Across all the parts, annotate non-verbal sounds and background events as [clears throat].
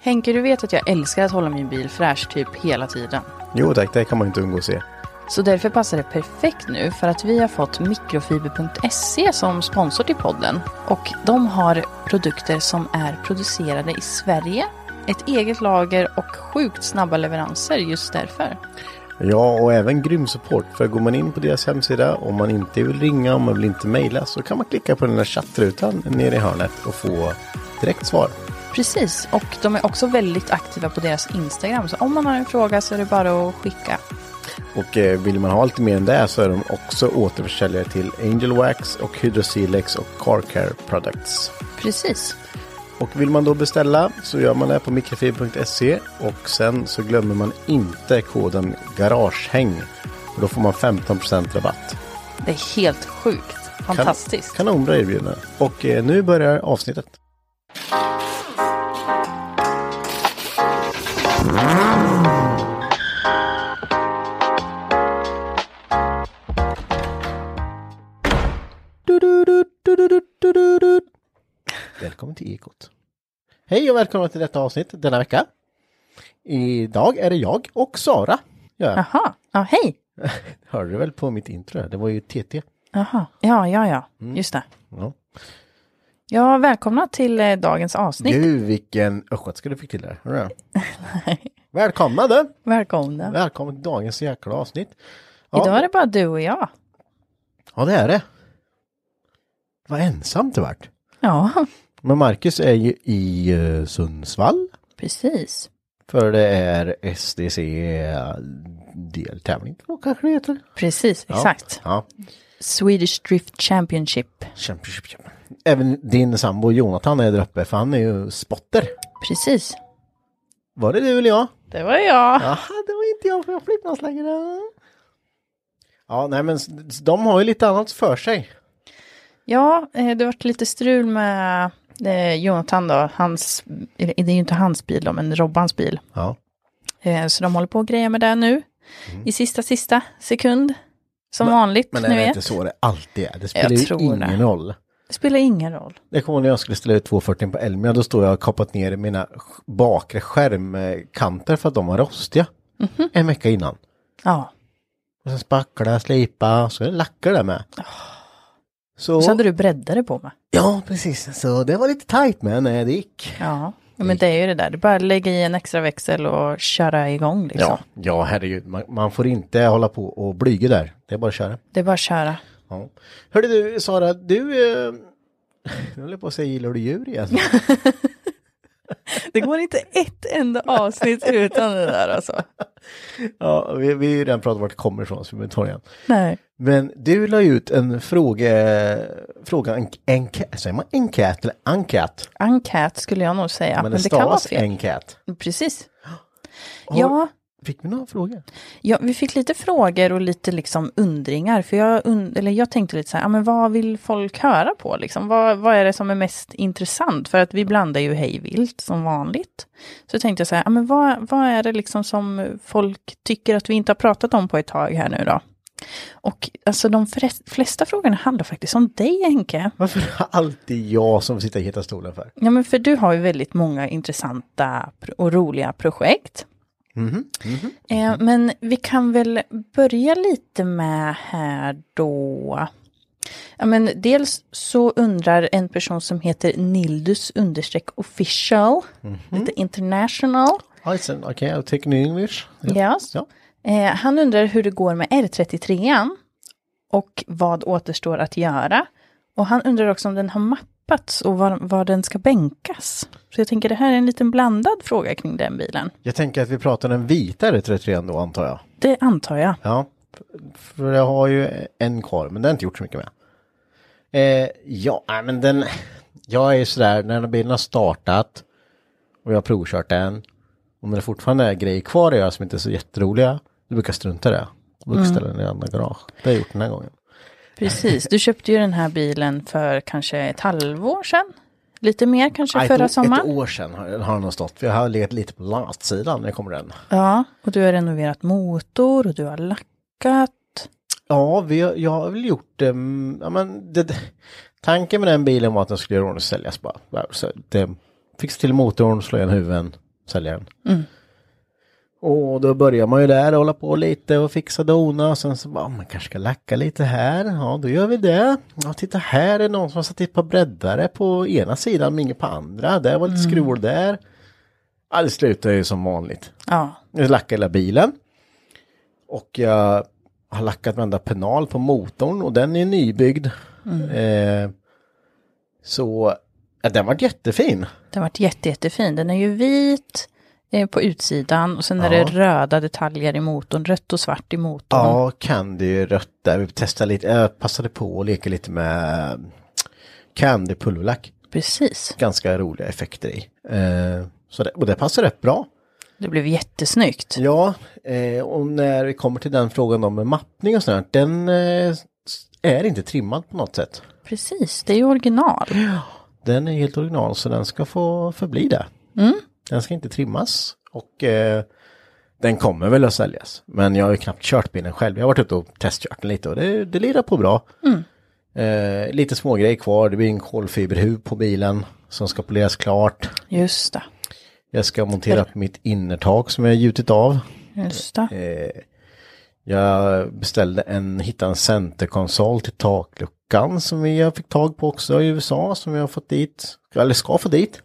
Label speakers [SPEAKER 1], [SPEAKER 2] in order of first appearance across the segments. [SPEAKER 1] Henke, du vet att jag älskar att hålla min bil fräsch typ hela tiden.
[SPEAKER 2] Jo tack, det kan man inte undgå att se.
[SPEAKER 1] Så därför passar det perfekt nu för att vi har fått mikrofiber.se som sponsor till podden. Och de har produkter som är producerade i Sverige, ett eget lager och sjukt snabba leveranser just därför.
[SPEAKER 2] Ja, och även grym support. För går man in på deras hemsida, om man inte vill ringa, om man vill inte mejla, så kan man klicka på den där chattrutan nere i hörnet och få direkt svar.
[SPEAKER 1] Precis, och de är också väldigt aktiva på deras Instagram. Så om man har en fråga så är det bara att skicka.
[SPEAKER 2] Och eh, vill man ha lite mer än det så är de också återförsäljare till Angel Wax och Hydrosilex och Car Care Products.
[SPEAKER 1] Precis.
[SPEAKER 2] Och vill man då beställa så gör man det på mikrofib.se och sen så glömmer man inte koden GARAGEHÄNG. Och då får man 15% rabatt.
[SPEAKER 1] Det är helt sjukt.
[SPEAKER 2] Kan-
[SPEAKER 1] Fantastiskt.
[SPEAKER 2] Kanonbra erbjudande. Och eh, nu börjar avsnittet. Du, du, du, du, du, du, du, du, du. Välkommen till Ekot. Hej och välkomna till detta avsnitt denna vecka. Idag är det jag och Sara. Ja,
[SPEAKER 1] Jaha, ja hej.
[SPEAKER 2] hörde du väl på mitt intro? här? Det var ju TT.
[SPEAKER 1] Jaha, ja, ja, ja,
[SPEAKER 2] Mm.
[SPEAKER 1] just det.
[SPEAKER 2] Ja.
[SPEAKER 1] Ja, välkomna till eh, dagens avsnitt.
[SPEAKER 2] Gud vilken östgötska du fick till där. Hörru.
[SPEAKER 1] [laughs]
[SPEAKER 2] Välkomna du!
[SPEAKER 1] Välkomna.
[SPEAKER 2] Välkommen till dagens jäkla avsnitt.
[SPEAKER 1] Idag är det bara du och jag.
[SPEAKER 2] Ja det är det. Vad ensamt det vart.
[SPEAKER 1] Ja,
[SPEAKER 2] Men Marcus är ju i eh, Sundsvall.
[SPEAKER 1] precis.
[SPEAKER 2] För det är SDC eh, deltävling tror jag kanske det heter.
[SPEAKER 1] Precis,
[SPEAKER 2] Ja.
[SPEAKER 1] exakt.
[SPEAKER 2] Ja.
[SPEAKER 1] Swedish Drift Championship.
[SPEAKER 2] Championship. championship. Även din sambo Jonathan är där uppe för han är ju spotter.
[SPEAKER 1] Precis.
[SPEAKER 2] Var det du eller jag?
[SPEAKER 1] Det var jag.
[SPEAKER 2] Jaha, [laughs] det var inte jag för jag flippade längre. Ja, nej men s- s- de har ju lite annat för sig.
[SPEAKER 1] Ja, eh, det vart lite strul med eh, Jonathan då. Hans, eller, det är ju inte hans bil då, men Robbans bil.
[SPEAKER 2] Ja.
[SPEAKER 1] Eh, Så de håller på och grejer med det nu. I sista, sista sekund. Som vanligt,
[SPEAKER 2] Mm. Men
[SPEAKER 1] nu
[SPEAKER 2] är det
[SPEAKER 1] vet.
[SPEAKER 2] inte så det alltid är? Det spelar
[SPEAKER 1] Jag
[SPEAKER 2] ju
[SPEAKER 1] tror
[SPEAKER 2] ingen
[SPEAKER 1] det.
[SPEAKER 2] roll.
[SPEAKER 1] Det spelar ingen roll.
[SPEAKER 2] Det kommer när jag skulle ställa ut 240 på Elmia, då står jag och kapat ner mina sk- bakre skärmkanter för att de var rostiga.
[SPEAKER 1] Mhm.
[SPEAKER 2] En vecka innan.
[SPEAKER 1] Ja,
[SPEAKER 2] Och sen spackla, slipa, så är det lackar där med. Så,
[SPEAKER 1] och Ah. så hade du breddare på mig.
[SPEAKER 2] ja precis, så det var lite tajt men eh, det gick.
[SPEAKER 1] Ja, ja, men det är ju det där. Det är bara att lägga i en extra växel och köra igång liksom.
[SPEAKER 2] Ja, ja herregud, man, man får inte hålla på och blyga där. Det är bara att köra.
[SPEAKER 1] Det är bara att köra.
[SPEAKER 2] Ja. Hörde du Sara, du... Eh, [laughs] jag höll på att säga gillar du
[SPEAKER 1] [laughs]
[SPEAKER 2] djur igen.
[SPEAKER 1] Det går inte ett enda avsnitt utan det där alltså.
[SPEAKER 2] ja, vi, vi har ju redan pratat om vart det kommer ifrån så vi behöver inte ta det igen.
[SPEAKER 1] Nej.
[SPEAKER 2] Men du la ju ut en fråga... Fråga... En, enkät, säger man enkät eller enkät?
[SPEAKER 1] Enkät skulle jag nog säga. Men det, kan vara fel.
[SPEAKER 2] enkät.
[SPEAKER 1] Precis.
[SPEAKER 2] Har-
[SPEAKER 1] Ja,
[SPEAKER 2] Fick vi några frågor?
[SPEAKER 1] Ja, vi fick lite frågor und- och lite liksom undringar. För jag, eller jag tänkte lite så här, ja, men vad vill folk höra på? Liksom? Vad, vad är det som är mest intressant? För att vi blandar ju hejvilt som vanligt. Så tänkte jag så här, ja, men vad, vad är det liksom som folk tycker att vi inte har pratat om på ett tag här nu då? Och alltså de fre- flesta frågorna handlar faktiskt om dig Henke.
[SPEAKER 2] Varför är det alltid jag som sitter i heta stolen för?
[SPEAKER 1] Ja, men för du har ju väldigt många intressanta pro- och roliga projekt. Eh, Men vi kan väl börja lite med här då. Ja, men dels så undrar en person som heter Nildus understreck official, lite international.
[SPEAKER 2] I said, okay, I'll take new English.
[SPEAKER 1] Yes.
[SPEAKER 2] Ja.
[SPEAKER 1] Eh, han undrar hur det går med R33 och vad återstår att göra. Och han undrar också om den har mappats och var, var den ska bänkas. Så jag tänker det här är en liten blandad fråga kring den bilen.
[SPEAKER 2] Jag tänker att vi pratar den vita R33 då antar jag.
[SPEAKER 1] Det antar jag.
[SPEAKER 2] Ja, för jag har ju en kvar, men den har inte gjort så mycket med. Eh, ja, nej, men den... Jag är ju sådär, när bilen har startat och jag har provkört den. Om det fortfarande är grejer kvar att göra som inte är så jätteroliga, då brukar jag strunta i det. Då brukar jag
[SPEAKER 1] Mm.
[SPEAKER 2] ställa den i andra garage. Det har jag gjort den här gången.
[SPEAKER 1] Precis, du köpte ju den här bilen för kanske ett halvår sedan. Lite mer kanske
[SPEAKER 2] Nej, ett,
[SPEAKER 1] förra
[SPEAKER 2] ett
[SPEAKER 1] sommaren.
[SPEAKER 2] år sedan har, har den nog stått, för jag har legat lite på latsidan när det kommer den.
[SPEAKER 1] Ja, och du har renoverat motor och du har lackat.
[SPEAKER 2] Ja, vi, har- jag har väl gjort ehm, ja, men det. Tanken med den bilen var att den skulle göra i ordning och säljas bara. Bara Så det, fixa till motorn, slå igen huven, sälja den. Och då börjar man ju där hålla på lite och fixa dona. Sen så bara, man kanske ska lacka lite här. Ja, då gör vi det. Ja, titta här är någon som har satt ett par breddare på ena sidan men inget på andra. Där var lite skruvor där. Ja, det slutar ju som vanligt.
[SPEAKER 1] Ja,
[SPEAKER 2] Jag lackade hela bilen. Och jag har lackat varenda penal på motorn och den är nybyggd. Eh, så ja, den var jättefin.
[SPEAKER 1] den har varit jätte, jättefin. Den är ju vit eh, på utsidan och sen är det röda detaljer i motorn, rött och svart i motorn.
[SPEAKER 2] Ja, Candy är rött där. Vi testade lite, jag passade på att leka lite med Candy pulverlack.
[SPEAKER 1] Precis,
[SPEAKER 2] Ganska roliga effekter i. Eh, så det, och det passar rätt bra.
[SPEAKER 1] det blev jättesnyggt.
[SPEAKER 2] Ja, eh, och när vi kommer till den frågan om mappning och sånt där, den eh, är inte trimmad på något sätt.
[SPEAKER 1] Precis, det är ju original.
[SPEAKER 2] Den är helt original så den ska få förbli det. Den ska inte trimmas och eh, den kommer väl att säljas. Men jag har ju knappt kört bilen själv. Jag har varit ute och testkört den lite och det, det lirar på bra. Eh, lite smågrejer kvar. Det blir en kolfiberhuv på bilen som ska poleras klart.
[SPEAKER 1] Just det,
[SPEAKER 2] Jag ska montera upp mitt innertak som jag har gjutit av.
[SPEAKER 1] just det.
[SPEAKER 2] Eh, Jag beställde en, hittade en centerkonsol till takluckan som jag fick tag på också i USA som jag har fått dit, eller ska få dit.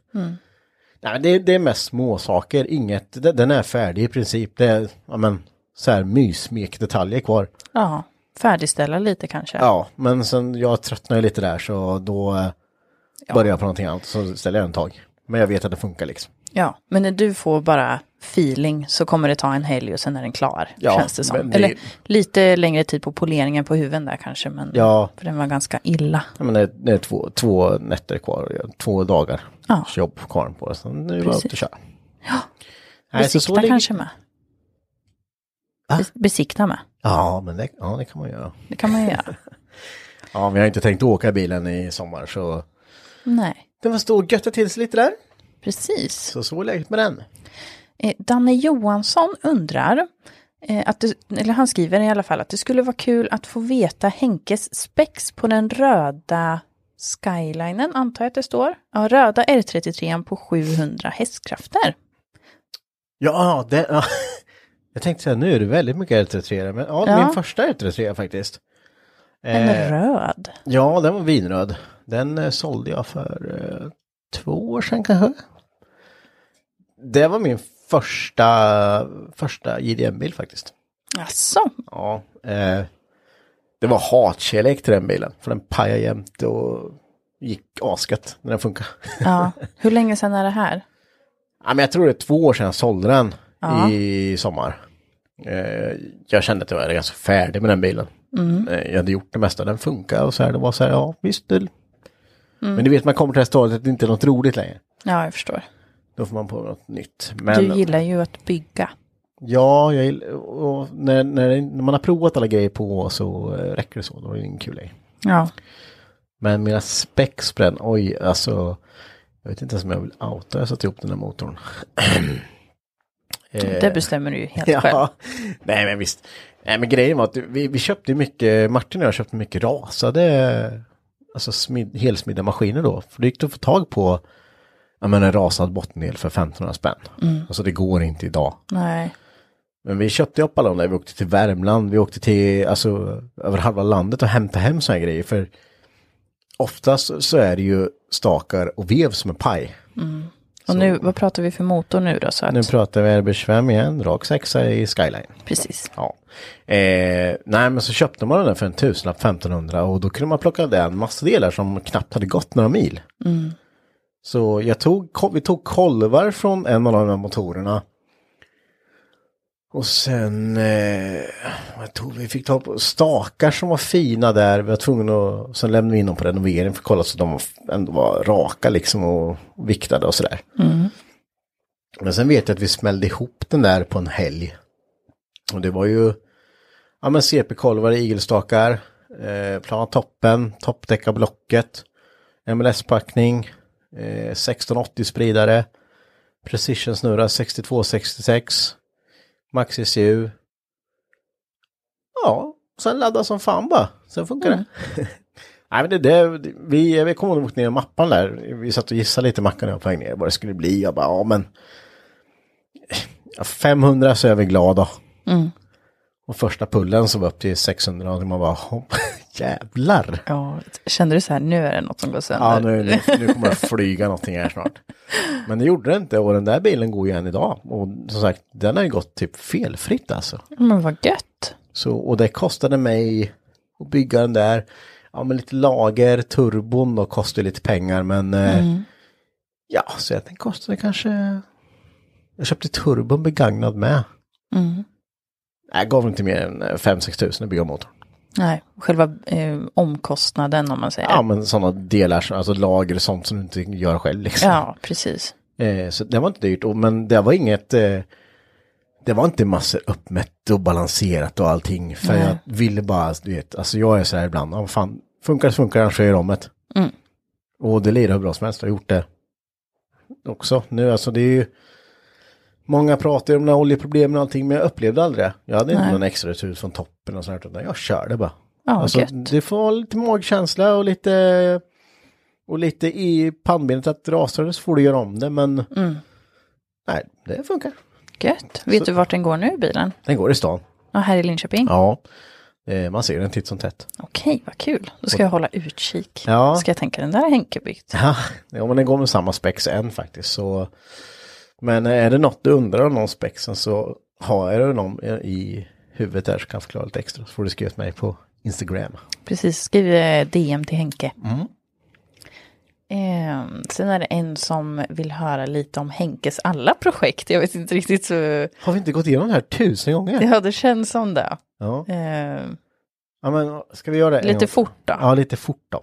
[SPEAKER 2] Nej, det, det är mest små saker, inget, de- den är färdig i princip. Det är, ja men, så här mysmekdetaljer kvar.
[SPEAKER 1] Ja, färdigställa lite kanske.
[SPEAKER 2] Ja, men sen jag tröttnade ju lite där så då eh, började jag på någonting annat så ställer jag en tag. Men jag vet att det funkar liksom.
[SPEAKER 1] Ja, men när du får bara feeling så kommer det ta en helg och sen är den klar.
[SPEAKER 2] Ja,
[SPEAKER 1] känns det som.
[SPEAKER 2] men det-
[SPEAKER 1] Eller lite längre tid på poleringen på huven där kanske. Men
[SPEAKER 2] Ja.
[SPEAKER 1] För den var ganska illa.
[SPEAKER 2] Ja, men det, är- det är två, två nätter kvar, att göra, två dagar
[SPEAKER 1] Ja.
[SPEAKER 2] jobb kvar på det. Så nu är det bara
[SPEAKER 1] Precis.
[SPEAKER 2] ut och köra. Ja.
[SPEAKER 1] Besikta kanske med. Be- Besikta med.
[SPEAKER 2] Ja, men det, ja, det kan man göra.
[SPEAKER 1] Det kan man ju göra.
[SPEAKER 2] Ja, men jag har inte tänkt åka bilen i sommar så
[SPEAKER 1] Nej,
[SPEAKER 2] den var stor götta till sig lite där.
[SPEAKER 1] precis.
[SPEAKER 2] Så så är läget med den.
[SPEAKER 1] Eh, Danne Johansson undrar, eh, att det, eller han skriver i alla fall att det skulle vara kul att få veta Henkes spex på den röda skylinen, antar jag att det står. Ja, röda R33 på 700 hästkrafter.
[SPEAKER 2] Ja, det, ja. [laughs] jag tänkte säga nu är det väldigt mycket R33, men ja,
[SPEAKER 1] Ja.
[SPEAKER 2] min första R33 faktiskt.
[SPEAKER 1] Den
[SPEAKER 2] Eh,
[SPEAKER 1] är röd.
[SPEAKER 2] Ja, den var vinröd. Den eh, sålde jag för eh, två år sedan kanske. Det var min första, första JDM-bil faktiskt.
[SPEAKER 1] Alltså,
[SPEAKER 2] Ja, eh, det var hatkärlek till den bilen, för den pajade jämt och gick asket när den funkade.
[SPEAKER 1] ja. Hur länge sedan är det här?
[SPEAKER 2] ja, men jag tror det är två år sedan jag sålde den
[SPEAKER 1] Ja.
[SPEAKER 2] i sommar. Eh, jag kände att jag var ganska färdig med den bilen.
[SPEAKER 1] Mm.
[SPEAKER 2] Eh, jag hade gjort det mesta, den funkar och så här, det var så här, ja visst. Det...
[SPEAKER 1] Mm.
[SPEAKER 2] Men du vet, man kommer till det här stadiet att det inte är något roligt längre.
[SPEAKER 1] Ja, jag förstår.
[SPEAKER 2] Då får man på något nytt.
[SPEAKER 1] Du
[SPEAKER 2] Men
[SPEAKER 1] gillar ju att bygga.
[SPEAKER 2] Ja, jag, gill- och när, när, det- när man har provat alla grejer på så eh, räcker det så. Då är det ingen kul grej.
[SPEAKER 1] Ja.
[SPEAKER 2] Men mina specs på den, oj alltså. Jag vet inte ens om jag vill outa jag satt ihop den här motorn. [clears throat] Eh,
[SPEAKER 1] Det bestämmer du ju helt själv.
[SPEAKER 2] ja. Nej men visst. Nej men grejen var att vi, vi köpte ju mycket, Martin och jag köpte mycket rasade, alltså smid, helsmidda maskiner då. För det gick att få tag på, ja men en rasad bottendel för 1500 spänn.
[SPEAKER 1] Mm.
[SPEAKER 2] Alltså det går inte idag.
[SPEAKER 1] Nej.
[SPEAKER 2] Men vi köpte upp alla de där, vi åkte till Värmland, vi åkte till, alltså över halva landet och hämtade hem sådana grejer. För oftast så är det ju stakar och vev som är paj.
[SPEAKER 1] Mm. Och nu, vad pratar vi för motor nu då? Så att,
[SPEAKER 2] Nu pratar vi RB25 igen, rak sexa i Skyline.
[SPEAKER 1] precis.
[SPEAKER 2] Ja. Eh, nej men så köpte man den där för en tusenlapp, 1500 och då kunde man plocka den massa delar som knappt hade gått några mil. Så jag tog, vi tog kolvar från en av de här motorerna. Och sen, eh, vad tog vi? vi fick ta på stakar som var fina där. Vi var tvungna att, sen lämnade vi in dem på renovering för att kolla så att de var- ändå var raka liksom och viktade och sådär. Men sen vet jag att vi smällde ihop den där på en helg. Och det var ju, ja men CP-kolvar, igelstakar, eh, plana toppen, toppdäckarblocket, MLS-packning, eh, 1680-spridare, precision snurra 6266, maxi CU. Ja, sen ladda som fan bara, sen funkar det. [laughs] Nej men det där, vi, jag kommer ihåg att vi åkte ner i mappan där, vi satt och gissade lite mackan när jag var på väg ner vad det skulle bli, jag bara ja men ja, 500 så är vi glada. Och första pullen så var upp till 600 och man bara "Hopp, [laughs] jävlar.
[SPEAKER 1] Ja, kände du så här, nu är det något som går sönder?
[SPEAKER 2] Ja nu, nu, nu kommer det flyga någonting här snart. Men det gjorde det inte och den där bilen går ju än idag. Och som sagt den har ju gått typ felfritt alltså.
[SPEAKER 1] Men vad gött.
[SPEAKER 2] Så, och det kostade mig att bygga den där. Ja men lite lager, turbon då kostar ju lite pengar men eh, ja så att den kostade kanske. Jag köpte turbon begagnad med.
[SPEAKER 1] Mm.
[SPEAKER 2] Jag gav inte mer än 5-6 tusen att bygga motorn.
[SPEAKER 1] Nej, själva eh, omkostnaden om man säger.
[SPEAKER 2] Ja men sådana delar, alltså lager och sånt som du inte gör själv liksom.
[SPEAKER 1] ja precis.
[SPEAKER 2] Eh, så det var inte dyrt, och, men det var inget, eh, det var inte massor uppmätt och balanserat och allting. För
[SPEAKER 1] Nej.
[SPEAKER 2] jag ville bara, du vet, alltså jag är så här ibland, ja fan, funkar det funkar, annars gör jag om det.
[SPEAKER 1] Mm.
[SPEAKER 2] Och det lirar hur bra som helst, jag har gjort det också nu, alltså det är ju, många pratar ju om de här oljeproblemen och allting, men jag upplevde aldrig det. Jag hade inte
[SPEAKER 1] Nej.
[SPEAKER 2] någon extra tur från toppen och sånt, utan jag körde bara.
[SPEAKER 1] Ja,
[SPEAKER 2] Alltså,
[SPEAKER 1] gött.
[SPEAKER 2] det får vara lite magkänsla och lite och lite i pannbenet att rasar det så får du göra om det men
[SPEAKER 1] Mm.
[SPEAKER 2] nej, det funkar.
[SPEAKER 1] Gött. Vet du vart den går nu bilen?
[SPEAKER 2] Den går i stan.
[SPEAKER 1] Ja, här i Linköping?
[SPEAKER 2] Ja, eh, man ser den titt som tätt.
[SPEAKER 1] Okej, vad kul. Då ska jag hålla utkik.
[SPEAKER 2] Ja.
[SPEAKER 1] Ska jag tänka den där har Henke byggt?
[SPEAKER 2] Ja, men den går med samma spex än faktiskt så men är det något du undrar om någon spexen så har jag det någon i huvudet där så kan jag förklara lite extra så får du skriva till mig på Instagram.
[SPEAKER 1] Precis, skriv eh, DM till Henke.
[SPEAKER 2] Mm.
[SPEAKER 1] Eh, sen är det en som vill höra lite om Henkes alla projekt. Jag vet inte riktigt så...
[SPEAKER 2] Har vi inte gått igenom det här tusen gånger?
[SPEAKER 1] Ja, det känns som det.
[SPEAKER 2] Ja,
[SPEAKER 1] Eh,
[SPEAKER 2] ja men ska vi göra det? en gång
[SPEAKER 1] lite
[SPEAKER 2] till?
[SPEAKER 1] fort då.
[SPEAKER 2] Ja, lite fort då.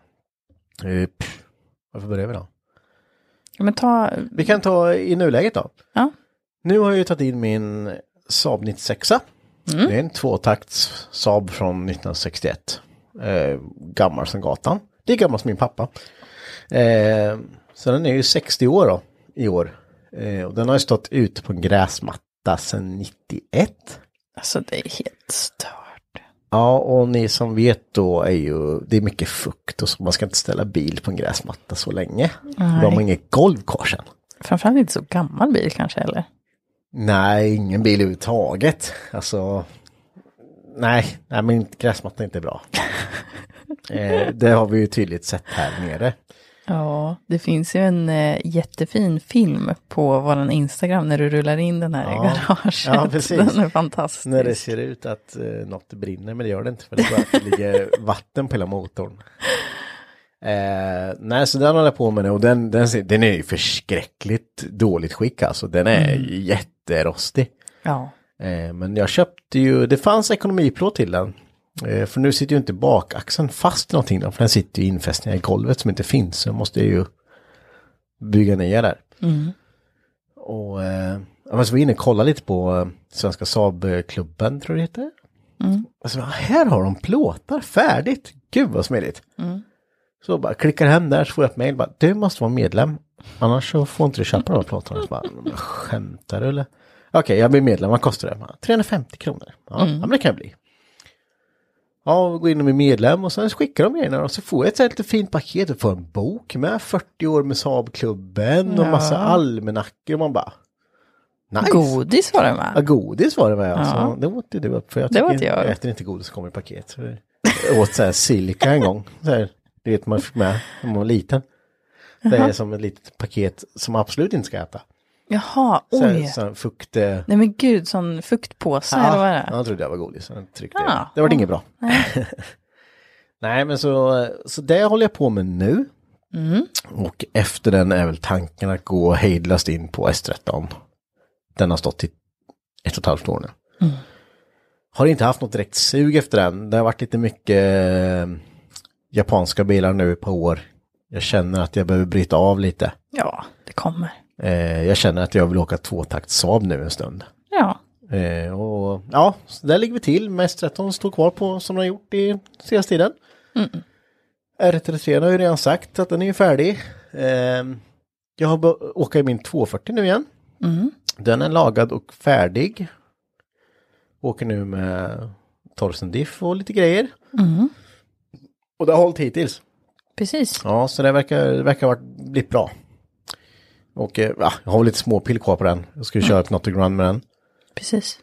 [SPEAKER 2] Eh, pff, Varför börjar vi då?
[SPEAKER 1] Ja, Men ta...
[SPEAKER 2] Vi kan ta i nuläget då.
[SPEAKER 1] Ja.
[SPEAKER 2] Nu har jag ju tagit in min Saab 96. Det är en tvåtakts Saab från 1961. Eh, gammal som gatan. Det är gammal som min pappa. Eh, så den är ju 60 år då, i år. Eh, och den har ju stått ute på en gräsmatta sedan 91.
[SPEAKER 1] Alltså det är helt stört.
[SPEAKER 2] Ja, och ni som vet då är ju, det är mycket fukt och så man ska inte ställa bil på en gräsmatta så länge. För De har inget golv kvar sen.
[SPEAKER 1] Framförallt inte så gammal bil kanske eller?
[SPEAKER 2] Nej, ingen bil överhuvudtaget. Alltså, nej, nej men gräsmatta är inte [laughs] bra. eh, det har vi ju tydligt sett här nere.
[SPEAKER 1] Ja, det finns ju en eh, jättefin film på vår Instagram när du rullar in den här i
[SPEAKER 2] Ja.
[SPEAKER 1] garaget.
[SPEAKER 2] Ja, precis.
[SPEAKER 1] Den är fantastisk.
[SPEAKER 2] När det ser ut att eh, något brinner, men det gör det inte. För det är bara att det [laughs] ligger vatten på hela motorn. Eh, nej, så den håller jag på med nu och den, den, ser- den är ju förskräckligt dåligt skick alltså. Den är jätterostig.
[SPEAKER 1] Ja,
[SPEAKER 2] Eh, men jag köpte ju, det fanns ekonomiplåt till den. Eh, för nu sitter ju inte bakaxeln fast i någonting då, för den sitter ju i infästningar i golvet som inte finns. Så jag måste ju bygga nya där. Och eh, Ja, men så var jag inne och kollade lite på eh, Svenska Saab-klubben, tror jag det heter. Och så bara, Alltså, här har de plåtar färdigt. Gud vad smidigt. Så bara klickar hem där så får jag ett mejl. bara, Du måste vara medlem. Annars så får inte du köpa de här plåtarna. Så bara, "Men skämtar du eller? Okej, jag blir medlem. Vad kostar det? Bara, 350 kronor. Ja, ja, men det kan jag bli. Ja, och gå in och bli medlem och sen skickar de grejerna och så får jag ett så här lite fint paket och får en bok med 40 år med Saabklubben och massa almanackor och man bara... Nice.
[SPEAKER 1] Godis var det
[SPEAKER 2] Ja,
[SPEAKER 1] med.
[SPEAKER 2] godis var det med. Alltså. Det åt ju du upp. För jag,
[SPEAKER 1] Det
[SPEAKER 2] tycker
[SPEAKER 1] åt jag
[SPEAKER 2] inte-
[SPEAKER 1] upp.
[SPEAKER 2] jag äter inte godis som kommer i paket. Så Jag åt så här silika en gång. Så här, det vet man fick med när man var liten. Det är som ett litet paket som man absolut inte ska äta.
[SPEAKER 1] Jaha,
[SPEAKER 2] Så här,
[SPEAKER 1] oj.
[SPEAKER 2] så här fukt... eh,
[SPEAKER 1] Nej men gud, sån fuktpåse eller vad är
[SPEAKER 2] Ja,
[SPEAKER 1] det?
[SPEAKER 2] han trodde jag var godis. Han tryckte
[SPEAKER 1] Ja.
[SPEAKER 2] det. Det var inget bra. [laughs] Nej, men så, så det håller jag på med nu.
[SPEAKER 1] Mm.
[SPEAKER 2] Och efter den är väl tanken att gå hejdlöst in på S13. Den har stått i ett och ett halvt år nu.
[SPEAKER 1] Mm.
[SPEAKER 2] Har inte haft något direkt sug efter den. Det har varit lite mycket eh, japanska bilar nu på år. Jag känner att jag behöver bryta av lite.
[SPEAKER 1] Ja, det kommer.
[SPEAKER 2] Eh, jag känner att jag vill åka tvåtakt Saab nu en stund.
[SPEAKER 1] Ja,
[SPEAKER 2] Eh, och ja, så där ligger vi till. Mest 13 står kvar på som den har gjort i senaste tiden. R33 har ju redan sagt att den är ju färdig. Eh, jag har bör- åka i min 240 nu igen. Den är lagad och färdig. Åker nu med Torsen Diff och lite grejer. Och det har hållit hittills.
[SPEAKER 1] precis.
[SPEAKER 2] Ja, så det verkar, det verkar ha varit- blivit bra. Och eh, ja, jag har väl lite småpill kvar på den. Jag ska ju köra ett Not Ground med den.
[SPEAKER 1] Precis.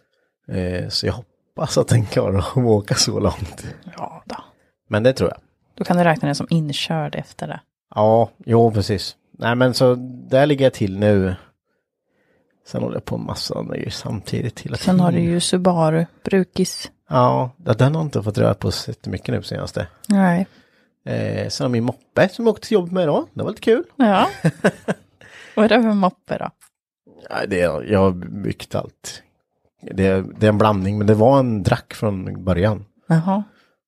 [SPEAKER 2] Eh, Så jag hoppas att den klarar att åka så långt.
[SPEAKER 1] Ja då.
[SPEAKER 2] Men det tror jag.
[SPEAKER 1] Då kan du räkna den som inkörd efter det.
[SPEAKER 2] Ja, jo precis. Nej men så där ligger jag till nu. Sen håller jag på med massa andra grejer samtidigt hela tiden.
[SPEAKER 1] Sen har du ju Subaru, Brukis.
[SPEAKER 2] Ja, ja, den har inte fått röra på sig så mycket nu senaste.
[SPEAKER 1] Nej.
[SPEAKER 2] Eh, sen har min moppe som jag åkte till jobbet med idag. Det var lite kul. [laughs]
[SPEAKER 1] Ja. vad är det för moppe då?
[SPEAKER 2] Nej, det, är- jag har byggt allt. Det, det är en blandning, men det var en drack från början.
[SPEAKER 1] Jaha.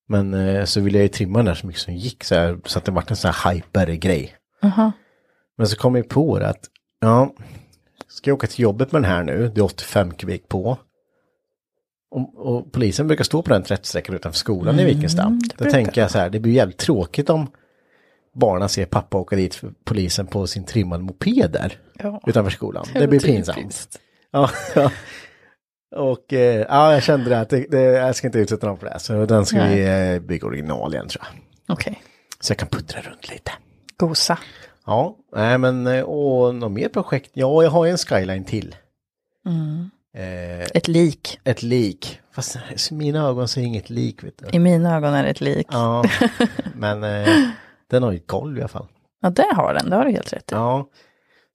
[SPEAKER 2] Men eh, så ville jag ju trimma den där så mycket som gick så, här, så att det vart en sån här hyper-grej.
[SPEAKER 1] Jaha.
[SPEAKER 2] Men så kom jag på det att, ja, ska jag åka till jobbet med den här nu, det är 85 kubik på. Och, och polisen brukar stå på den 30-sträckan utanför skolan i Vikenstam. Då
[SPEAKER 1] Mm, brukar
[SPEAKER 2] tänker jag så här, det blir jävligt tråkigt om barnen ser pappa åka dit för polisen på sin trimmade moped där
[SPEAKER 1] Ja.
[SPEAKER 2] utanför skolan. Det blir pinsamt. Ja, [laughs] ja. Och eh, ja, jag kände det att det, det, jag ska inte utsätta dem för det. här, Så den ska vi eh, bygga original igen tror jag.
[SPEAKER 1] Okej.
[SPEAKER 2] Så jag kan puttra runt lite.
[SPEAKER 1] Gosa.
[SPEAKER 2] Ja, nej men eh, och något mer projekt? Ja, jag har ju en skyline till. Eh,
[SPEAKER 1] Ett lik.
[SPEAKER 2] ett lik. Fast i mina ögon så är det inget lik. Vet du.
[SPEAKER 1] I mina ögon är det ett lik. Ja,
[SPEAKER 2] Ja, men eh, den har ju ett golv i alla fall.
[SPEAKER 1] det har den. Det har du helt rätt i.
[SPEAKER 2] Ja,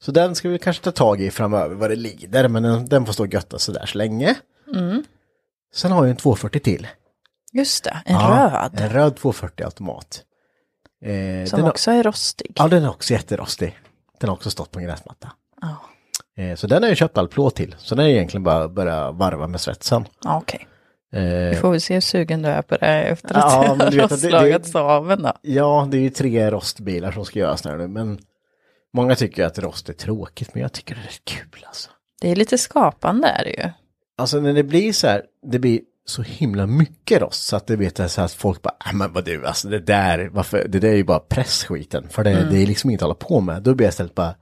[SPEAKER 2] så den ska vi kanske ta tag i framöver vad det lider. Men den, den får stå och götta sådär så länge. Sen har jag en 240 till.
[SPEAKER 1] Just det. En
[SPEAKER 2] Ja, Eh,
[SPEAKER 1] röd.
[SPEAKER 2] En röd 240 automat. Eh,
[SPEAKER 1] Som
[SPEAKER 2] den har-
[SPEAKER 1] också är rostig.
[SPEAKER 2] Ja, den är också jätterostig. Den har också stått på en gräsmatta.
[SPEAKER 1] Ja.
[SPEAKER 2] Eh, så den har jag köpt all plåt till. Så den är egentligen bara att börja varva med svetsen.
[SPEAKER 1] Ja, okej. Vi
[SPEAKER 2] Eh,
[SPEAKER 1] får väl se hur sugen du är på det efter
[SPEAKER 2] Ja,
[SPEAKER 1] att
[SPEAKER 2] men
[SPEAKER 1] du
[SPEAKER 2] du vet
[SPEAKER 1] har
[SPEAKER 2] att det-
[SPEAKER 1] slagat
[SPEAKER 2] det-
[SPEAKER 1] saven då.
[SPEAKER 2] ja, det är ju tre rostbilar som ska göras nu. Men många tycker ju att rost är tråkigt, men jag tycker det är rätt kul alltså.
[SPEAKER 1] Det är lite skapande är det ju.
[SPEAKER 2] Alltså när det blir så här, det blir så himla mycket rost så att det vet så här att folk bara, "Ah, men vad du, alltså det där, varför, det där är ju bara pressskiten, för det,
[SPEAKER 1] Mm.
[SPEAKER 2] det är liksom inget att hålla på med. Då blir jag istället bara,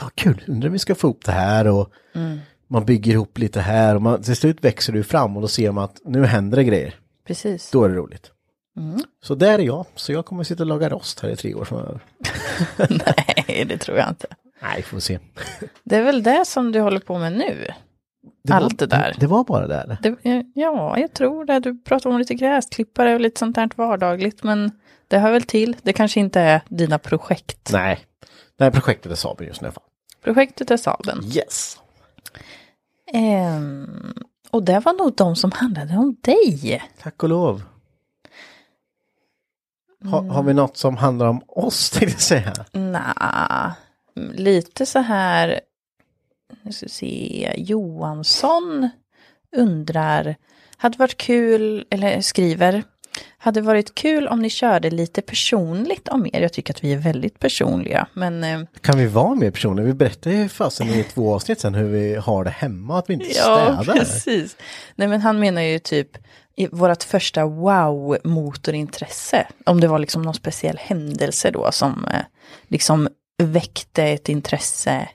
[SPEAKER 2] vad kul, undrar om vi ska få ihop det här och
[SPEAKER 1] Mm.
[SPEAKER 2] man bygger ihop lite här och man, till slut växer du fram och då ser man att nu händer det grejer.
[SPEAKER 1] Precis.
[SPEAKER 2] Då är det roligt.
[SPEAKER 1] Mm.
[SPEAKER 2] Så där är jag, så jag kommer sitta och laga rost här i tre år framöver.
[SPEAKER 1] [laughs] [laughs] Nej, det tror jag inte.
[SPEAKER 2] [laughs] Nej, får vi se.
[SPEAKER 1] Det är väl det som du håller på med nu? Allt det där.
[SPEAKER 2] Det, det var bara det där.
[SPEAKER 1] Det, eh, ja, jag tror det. Du pratar om lite gräsklippare och lite sånt här vardagligt, men det hör väl till. Det kanske inte är dina projekt.
[SPEAKER 2] Nej, det här projektet är Saben just nu i alla fall.
[SPEAKER 1] Projektet är Saben.
[SPEAKER 2] Yes.
[SPEAKER 1] Ehm, och det var nog de som handlade om dig.
[SPEAKER 2] Tack och lov. Ha, Har
[SPEAKER 1] Mm.
[SPEAKER 2] vi något som handlar om oss [laughs] tänkte jag säga?
[SPEAKER 1] Nja, lite så här, nu ska vi se, Johansson undrar, hade varit kul, eller skriver, Hade varit kul om ni körde lite personligt om er. Jag tycker att vi är väldigt personliga. Men eh,
[SPEAKER 2] Kan vi vara mer personer? Vi berättar ju fasen i två avsnitt sen hur vi har det hemma, att vi inte
[SPEAKER 1] Ja,
[SPEAKER 2] städar.
[SPEAKER 1] precis. Nej, men han menar ju typ i vårt första wow-motorintresse. Om det var liksom någon speciell händelse då som eh, liksom väckte ett intresse.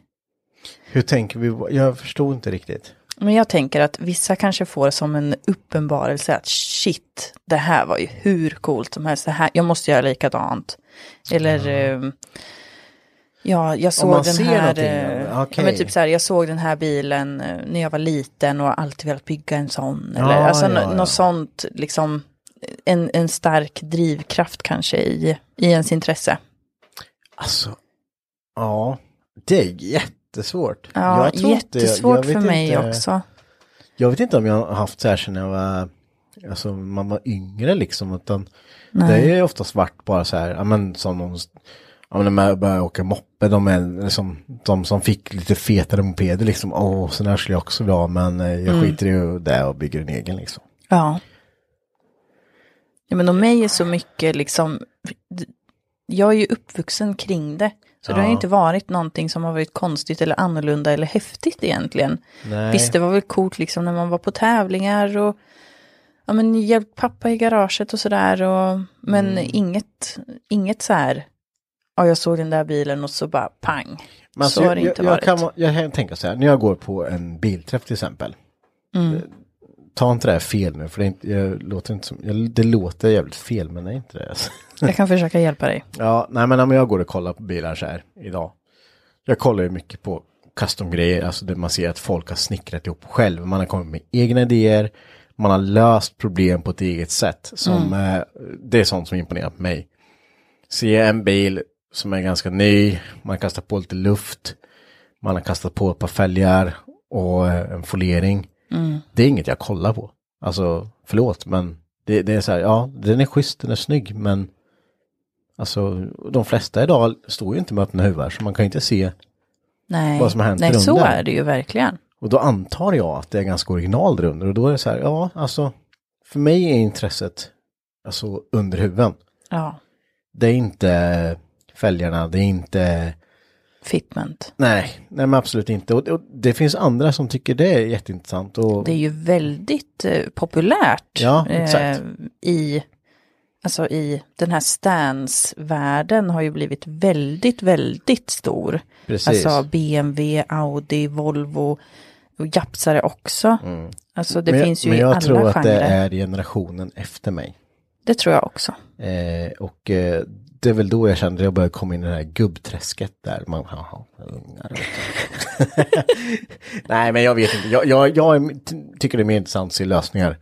[SPEAKER 2] Hur tänker vi? Jag förstod inte riktigt.
[SPEAKER 1] Men jag tänker att vissa kanske får som en uppenbarelse att shit, det här var ju hur coolt som helst. Det här, jag måste göra likadant. Eller eh, ja, jag såg
[SPEAKER 2] man
[SPEAKER 1] den
[SPEAKER 2] ser
[SPEAKER 1] här.
[SPEAKER 2] någonting,
[SPEAKER 1] eh,
[SPEAKER 2] ja,
[SPEAKER 1] ja, men
[SPEAKER 2] okej.
[SPEAKER 1] typ så här, jag såg den här bilen eh, när jag var liten och har alltid velat bygga en sån.
[SPEAKER 2] Ja,
[SPEAKER 1] Eller alltså
[SPEAKER 2] ja,
[SPEAKER 1] nå-
[SPEAKER 2] ja.
[SPEAKER 1] något sånt, liksom en, en stark drivkraft kanske i, i ens intresse.
[SPEAKER 2] Alltså, ja, det är jättesvårt.
[SPEAKER 1] Ja,
[SPEAKER 2] jag tror inte- jag-
[SPEAKER 1] jättesvårt
[SPEAKER 2] jag vet
[SPEAKER 1] för mig
[SPEAKER 2] inte-
[SPEAKER 1] också.
[SPEAKER 2] Jag vet inte om jag har haft så här sedan jag var, alltså man var yngre liksom, utan det är ju oftast varit bara så här, ja men som någon, ja men när man började åka moppe, de är liksom, de som fick lite fetare mopeder liksom, åh, sån här skulle jag också vilja ha, men eh,
[SPEAKER 1] Mm.
[SPEAKER 2] jag skiter i det och bygger en egen liksom.
[SPEAKER 1] Ja. ja men om mig är så mycket liksom, jag är ju uppvuxen kring det. Så det har ju inte varit någonting som har varit konstigt eller annorlunda eller häftigt egentligen.
[SPEAKER 2] Nej.
[SPEAKER 1] Visst, det var väl coolt liksom när man var på tävlingar och ja, men hjälpt pappa i garaget och sådär. Och, men
[SPEAKER 2] Mm.
[SPEAKER 1] inget, inget så här, ja jag såg den där bilen och så bara pang.
[SPEAKER 2] Men alltså,
[SPEAKER 1] så har det
[SPEAKER 2] jag,
[SPEAKER 1] inte
[SPEAKER 2] jag,
[SPEAKER 1] varit.
[SPEAKER 2] jag Kan, jag kan tänka så här, när jag går på en bilträff till exempel.
[SPEAKER 1] Mm.
[SPEAKER 2] eh, Ta inte det här fel nu, för det, är inte, jag låter inte som, jag, det låter jävligt fel, men det är inte det. Alltså.
[SPEAKER 1] Jag kan försöka hjälpa dig.
[SPEAKER 2] Ja, nej men om jag går och kollar på bilar så här idag. Jag kollar ju mycket på custom-grejer, alltså det man ser att folk har snickrat ihop själv. Man har kommit med egna idéer, man har löst problem på ett eget sätt. Som, eh, det är sånt som imponerar på mig. Se en bil som är ganska ny, man kastar på lite luft, man har kastat på ett par fälgar och eh, en foliering. Det är inget jag kollar på. Alltså, förlåt, men det, det är så här, ja, den är schysst, den är snygg, men Alltså de flesta idag står ju inte med öppna huvudar så man kan ju inte se.
[SPEAKER 1] Nej,
[SPEAKER 2] Vad som har hänt
[SPEAKER 1] Nej
[SPEAKER 2] runt
[SPEAKER 1] så
[SPEAKER 2] där.
[SPEAKER 1] är det ju verkligen.
[SPEAKER 2] Och då antar jag att det är ganska original där under och då är det så här, ja alltså. För mig är intresset alltså under huven.
[SPEAKER 1] Ja,
[SPEAKER 2] Det är inte fälgarna, det är inte,
[SPEAKER 1] fitment.
[SPEAKER 2] nej, nej men absolut inte. Och, och det finns andra som tycker det är jätteintressant. Och,
[SPEAKER 1] Det är ju väldigt eh, populärt eh,
[SPEAKER 2] Ja, exakt.
[SPEAKER 1] i, alltså i den här stance-världen har ju blivit väldigt, väldigt stor.
[SPEAKER 2] Precis.
[SPEAKER 1] Alltså BMW, Audi, Volvo och japsare också. Alltså det
[SPEAKER 2] Mm. men, jag-
[SPEAKER 1] finns ju
[SPEAKER 2] men
[SPEAKER 1] i
[SPEAKER 2] jag
[SPEAKER 1] alla
[SPEAKER 2] tror att
[SPEAKER 1] genrer.
[SPEAKER 2] det är generationen efter mig.
[SPEAKER 1] det tror jag också.
[SPEAKER 2] Eh, och eh, det är väl då jag kände att jag började komma in i det här gubbträsket där. Man, jaha, ungar. vet du. [laughs] Nej, men jag vet inte. Jag, jag, jag är- ty- tycker det är mer intressant att se lösningar.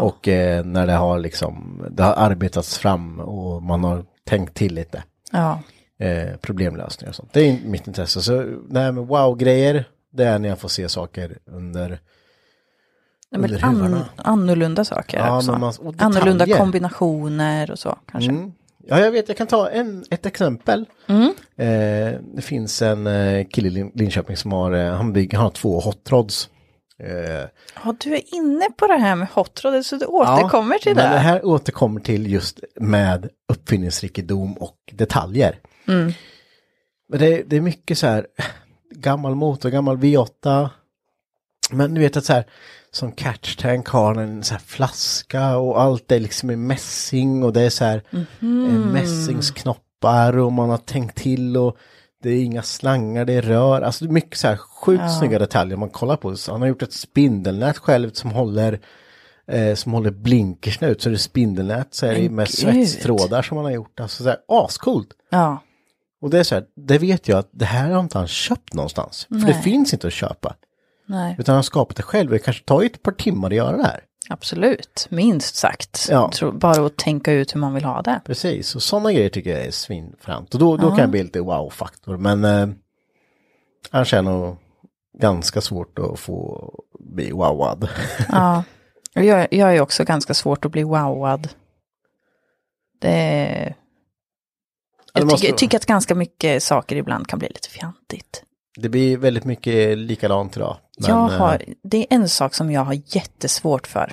[SPEAKER 2] Och eh, när det har liksom, det har arbetats fram och man har tänkt till lite.
[SPEAKER 1] Ja,
[SPEAKER 2] Eh, problemlösningar och sånt. Det är mitt intresse. Så det här med wow-grejer, det är när jag får se saker under
[SPEAKER 1] Nej, men
[SPEAKER 2] Under
[SPEAKER 1] an,
[SPEAKER 2] huvarna.
[SPEAKER 1] annorlunda saker
[SPEAKER 2] Ja,
[SPEAKER 1] också.
[SPEAKER 2] men man- och detaljer. Mm.
[SPEAKER 1] annorlunda kombinationer och så kanske.
[SPEAKER 2] Ja, jag vet. Jag kan ta en, ett exempel.
[SPEAKER 1] Mm.
[SPEAKER 2] Eh, det finns en eh, kille i Lin- Linköping som har, eh, han, bygger, han har två hot rods. Eh,
[SPEAKER 1] Ja, du är inne på det här med hot rod, så du återkommer till det.
[SPEAKER 2] Men det här återkommer till just med uppfinningsrikedom och detaljer.
[SPEAKER 1] Mm.
[SPEAKER 2] Men det, det är mycket så här eh, gammal motor, gammal V8. Men du vet att så här som catch tank har den en så här flaska och allt är liksom i mässing och det är så här
[SPEAKER 1] Mhm.
[SPEAKER 2] eh, mässingsknoppar och man har tänkt till och det är inga slangar, det är rör, alltså det är mycket så här sjukt snygga detaljer man kollar på. Så han har gjort ett spindelnät själv som håller eh, som håller blinkersen ut så det är spindelnät så är det
[SPEAKER 1] Men
[SPEAKER 2] med
[SPEAKER 1] gud.
[SPEAKER 2] svetstrådar som han har gjort. Alltså så här ascoolt.
[SPEAKER 1] Ja,
[SPEAKER 2] Och det är så här, det vet jag att det här har inte han köpt någonstans. För det finns inte att köpa.
[SPEAKER 1] nej,
[SPEAKER 2] Utan han har skapat det själv. Det kanske tar ju ett par timmar att göra det här.
[SPEAKER 1] absolut. Minst sagt.
[SPEAKER 2] Ja.
[SPEAKER 1] Tro- Bara att tänka ut hur man vill ha det.
[SPEAKER 2] Precis, och sådana grejer tycker jag är svinfränt. Och då, då kan det bli lite wow-faktor. Men eh, annars är det nog ganska svårt att få bli wowad. [laughs] Alltså,
[SPEAKER 1] Ja. Och Jag, jag är också ganska svårt att bli wowad. Det...
[SPEAKER 2] det
[SPEAKER 1] Jag
[SPEAKER 2] måste
[SPEAKER 1] tycker,
[SPEAKER 2] vara.
[SPEAKER 1] tycker att ganska mycket saker ibland kan bli lite fjantigt.
[SPEAKER 2] det blir väldigt mycket likadant idag. Men,
[SPEAKER 1] jag
[SPEAKER 2] eh, mm.
[SPEAKER 1] har, det är en sak som jag har jättesvårt för.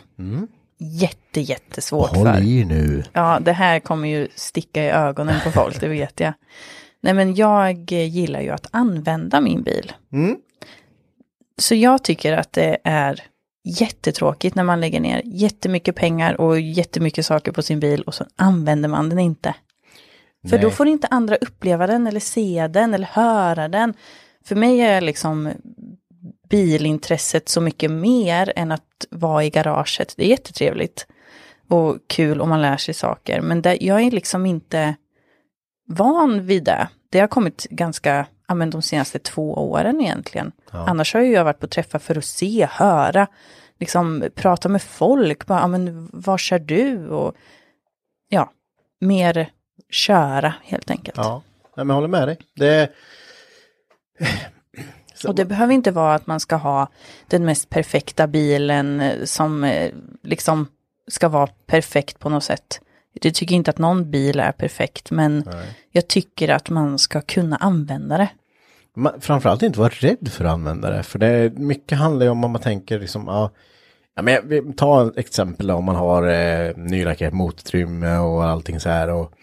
[SPEAKER 1] jätte, jättesvårt för.
[SPEAKER 2] Håll i nu.
[SPEAKER 1] Ja, det här kommer ju sticka i ögonen på folk, det vet jag. Nej, men jag gillar ju att använda min bil.
[SPEAKER 2] Mm.
[SPEAKER 1] Så jag tycker att det är jättetråkigt när man lägger ner jättemycket pengar och jättemycket saker på sin bil och så använder man den inte. För då
[SPEAKER 2] Nej.
[SPEAKER 1] får inte andra uppleva den eller se den eller höra den. För mig är liksom bilintresset så mycket mer än att vara i garaget. Det är jättetrevligt och kul om man lär sig saker. Men det, jag är liksom inte van vid det. Det har kommit ganska, ja men de senaste två åren egentligen. Annars har ju jag varit på träffar för att se, höra, liksom prata med folk, bara, ja men var kör du och ja, mer köra helt enkelt.
[SPEAKER 2] Ja, Nej, men jag håller med dig. Det,
[SPEAKER 1] Och det behöver inte vara att man ska ha den mest perfekta bilen eh, som eh, liksom ska vara perfekt på något sätt. Jag tycker inte att någon bil är perfekt, men jag tycker att man ska kunna använda det.
[SPEAKER 2] man, framförallt inte vara rädd för att använda det. För det är, mycket handlar ju om om man tänker liksom, ja, ja men jag- vi- ta ett exempel då, om man har eh, nylackat motorutrymme och allting så här. Och,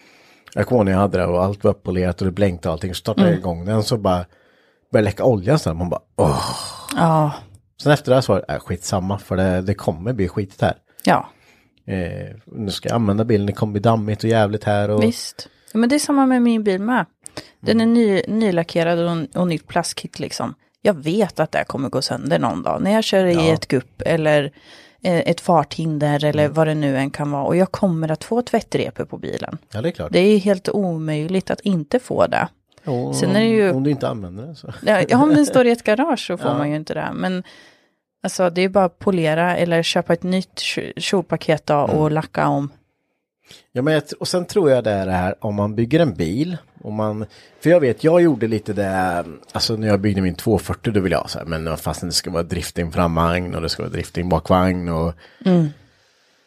[SPEAKER 2] jag kommer ihåg när jag hade det och allt var upppolerat och det blänkte och allting. Så startade
[SPEAKER 1] Mm.
[SPEAKER 2] jag igång den så bara började läcka olja så här. Man bara, åh.
[SPEAKER 1] Ja,
[SPEAKER 2] Sen efter det här så var det, äh, skitsamma för det, det kommer bli skitigt här.
[SPEAKER 1] ja
[SPEAKER 2] Eh, nu ska jag använda bilen, det kommer bli dammigt och jävligt här. Och, Mm.
[SPEAKER 1] visst. Ja, men det är samma med min bil med. Den är ny, nylackerad och, och nytt plastkit liksom. Jag vet att det här kommer gå sönder någon dag. När jag kör i ett gupp eller eh, ett farthinder eller
[SPEAKER 2] Mm.
[SPEAKER 1] vad det nu än kan vara. Och jag kommer att få tvättrepor på bilen.
[SPEAKER 2] Ja, det är klart.
[SPEAKER 1] Det är ju helt omöjligt att inte få det.
[SPEAKER 2] Och-
[SPEAKER 1] sen är det ju-
[SPEAKER 2] Om du inte använder det så.
[SPEAKER 1] Ja, ja, om den står i ett garage så får man ju inte det. Men alltså, det är bara att polera eller köpa ett nytt tjo- kjolpaket då
[SPEAKER 2] Mm.
[SPEAKER 1] och lacka om.
[SPEAKER 2] Ja, men jag, tr- och sen tror jag det är det här om man bygger en bil. Om man, för jag vet, jag gjorde lite det, alltså när jag byggde min 240 då ville jag så här, men fast det ska vara drifting framvagn och det ska vara drifting bakvagn och...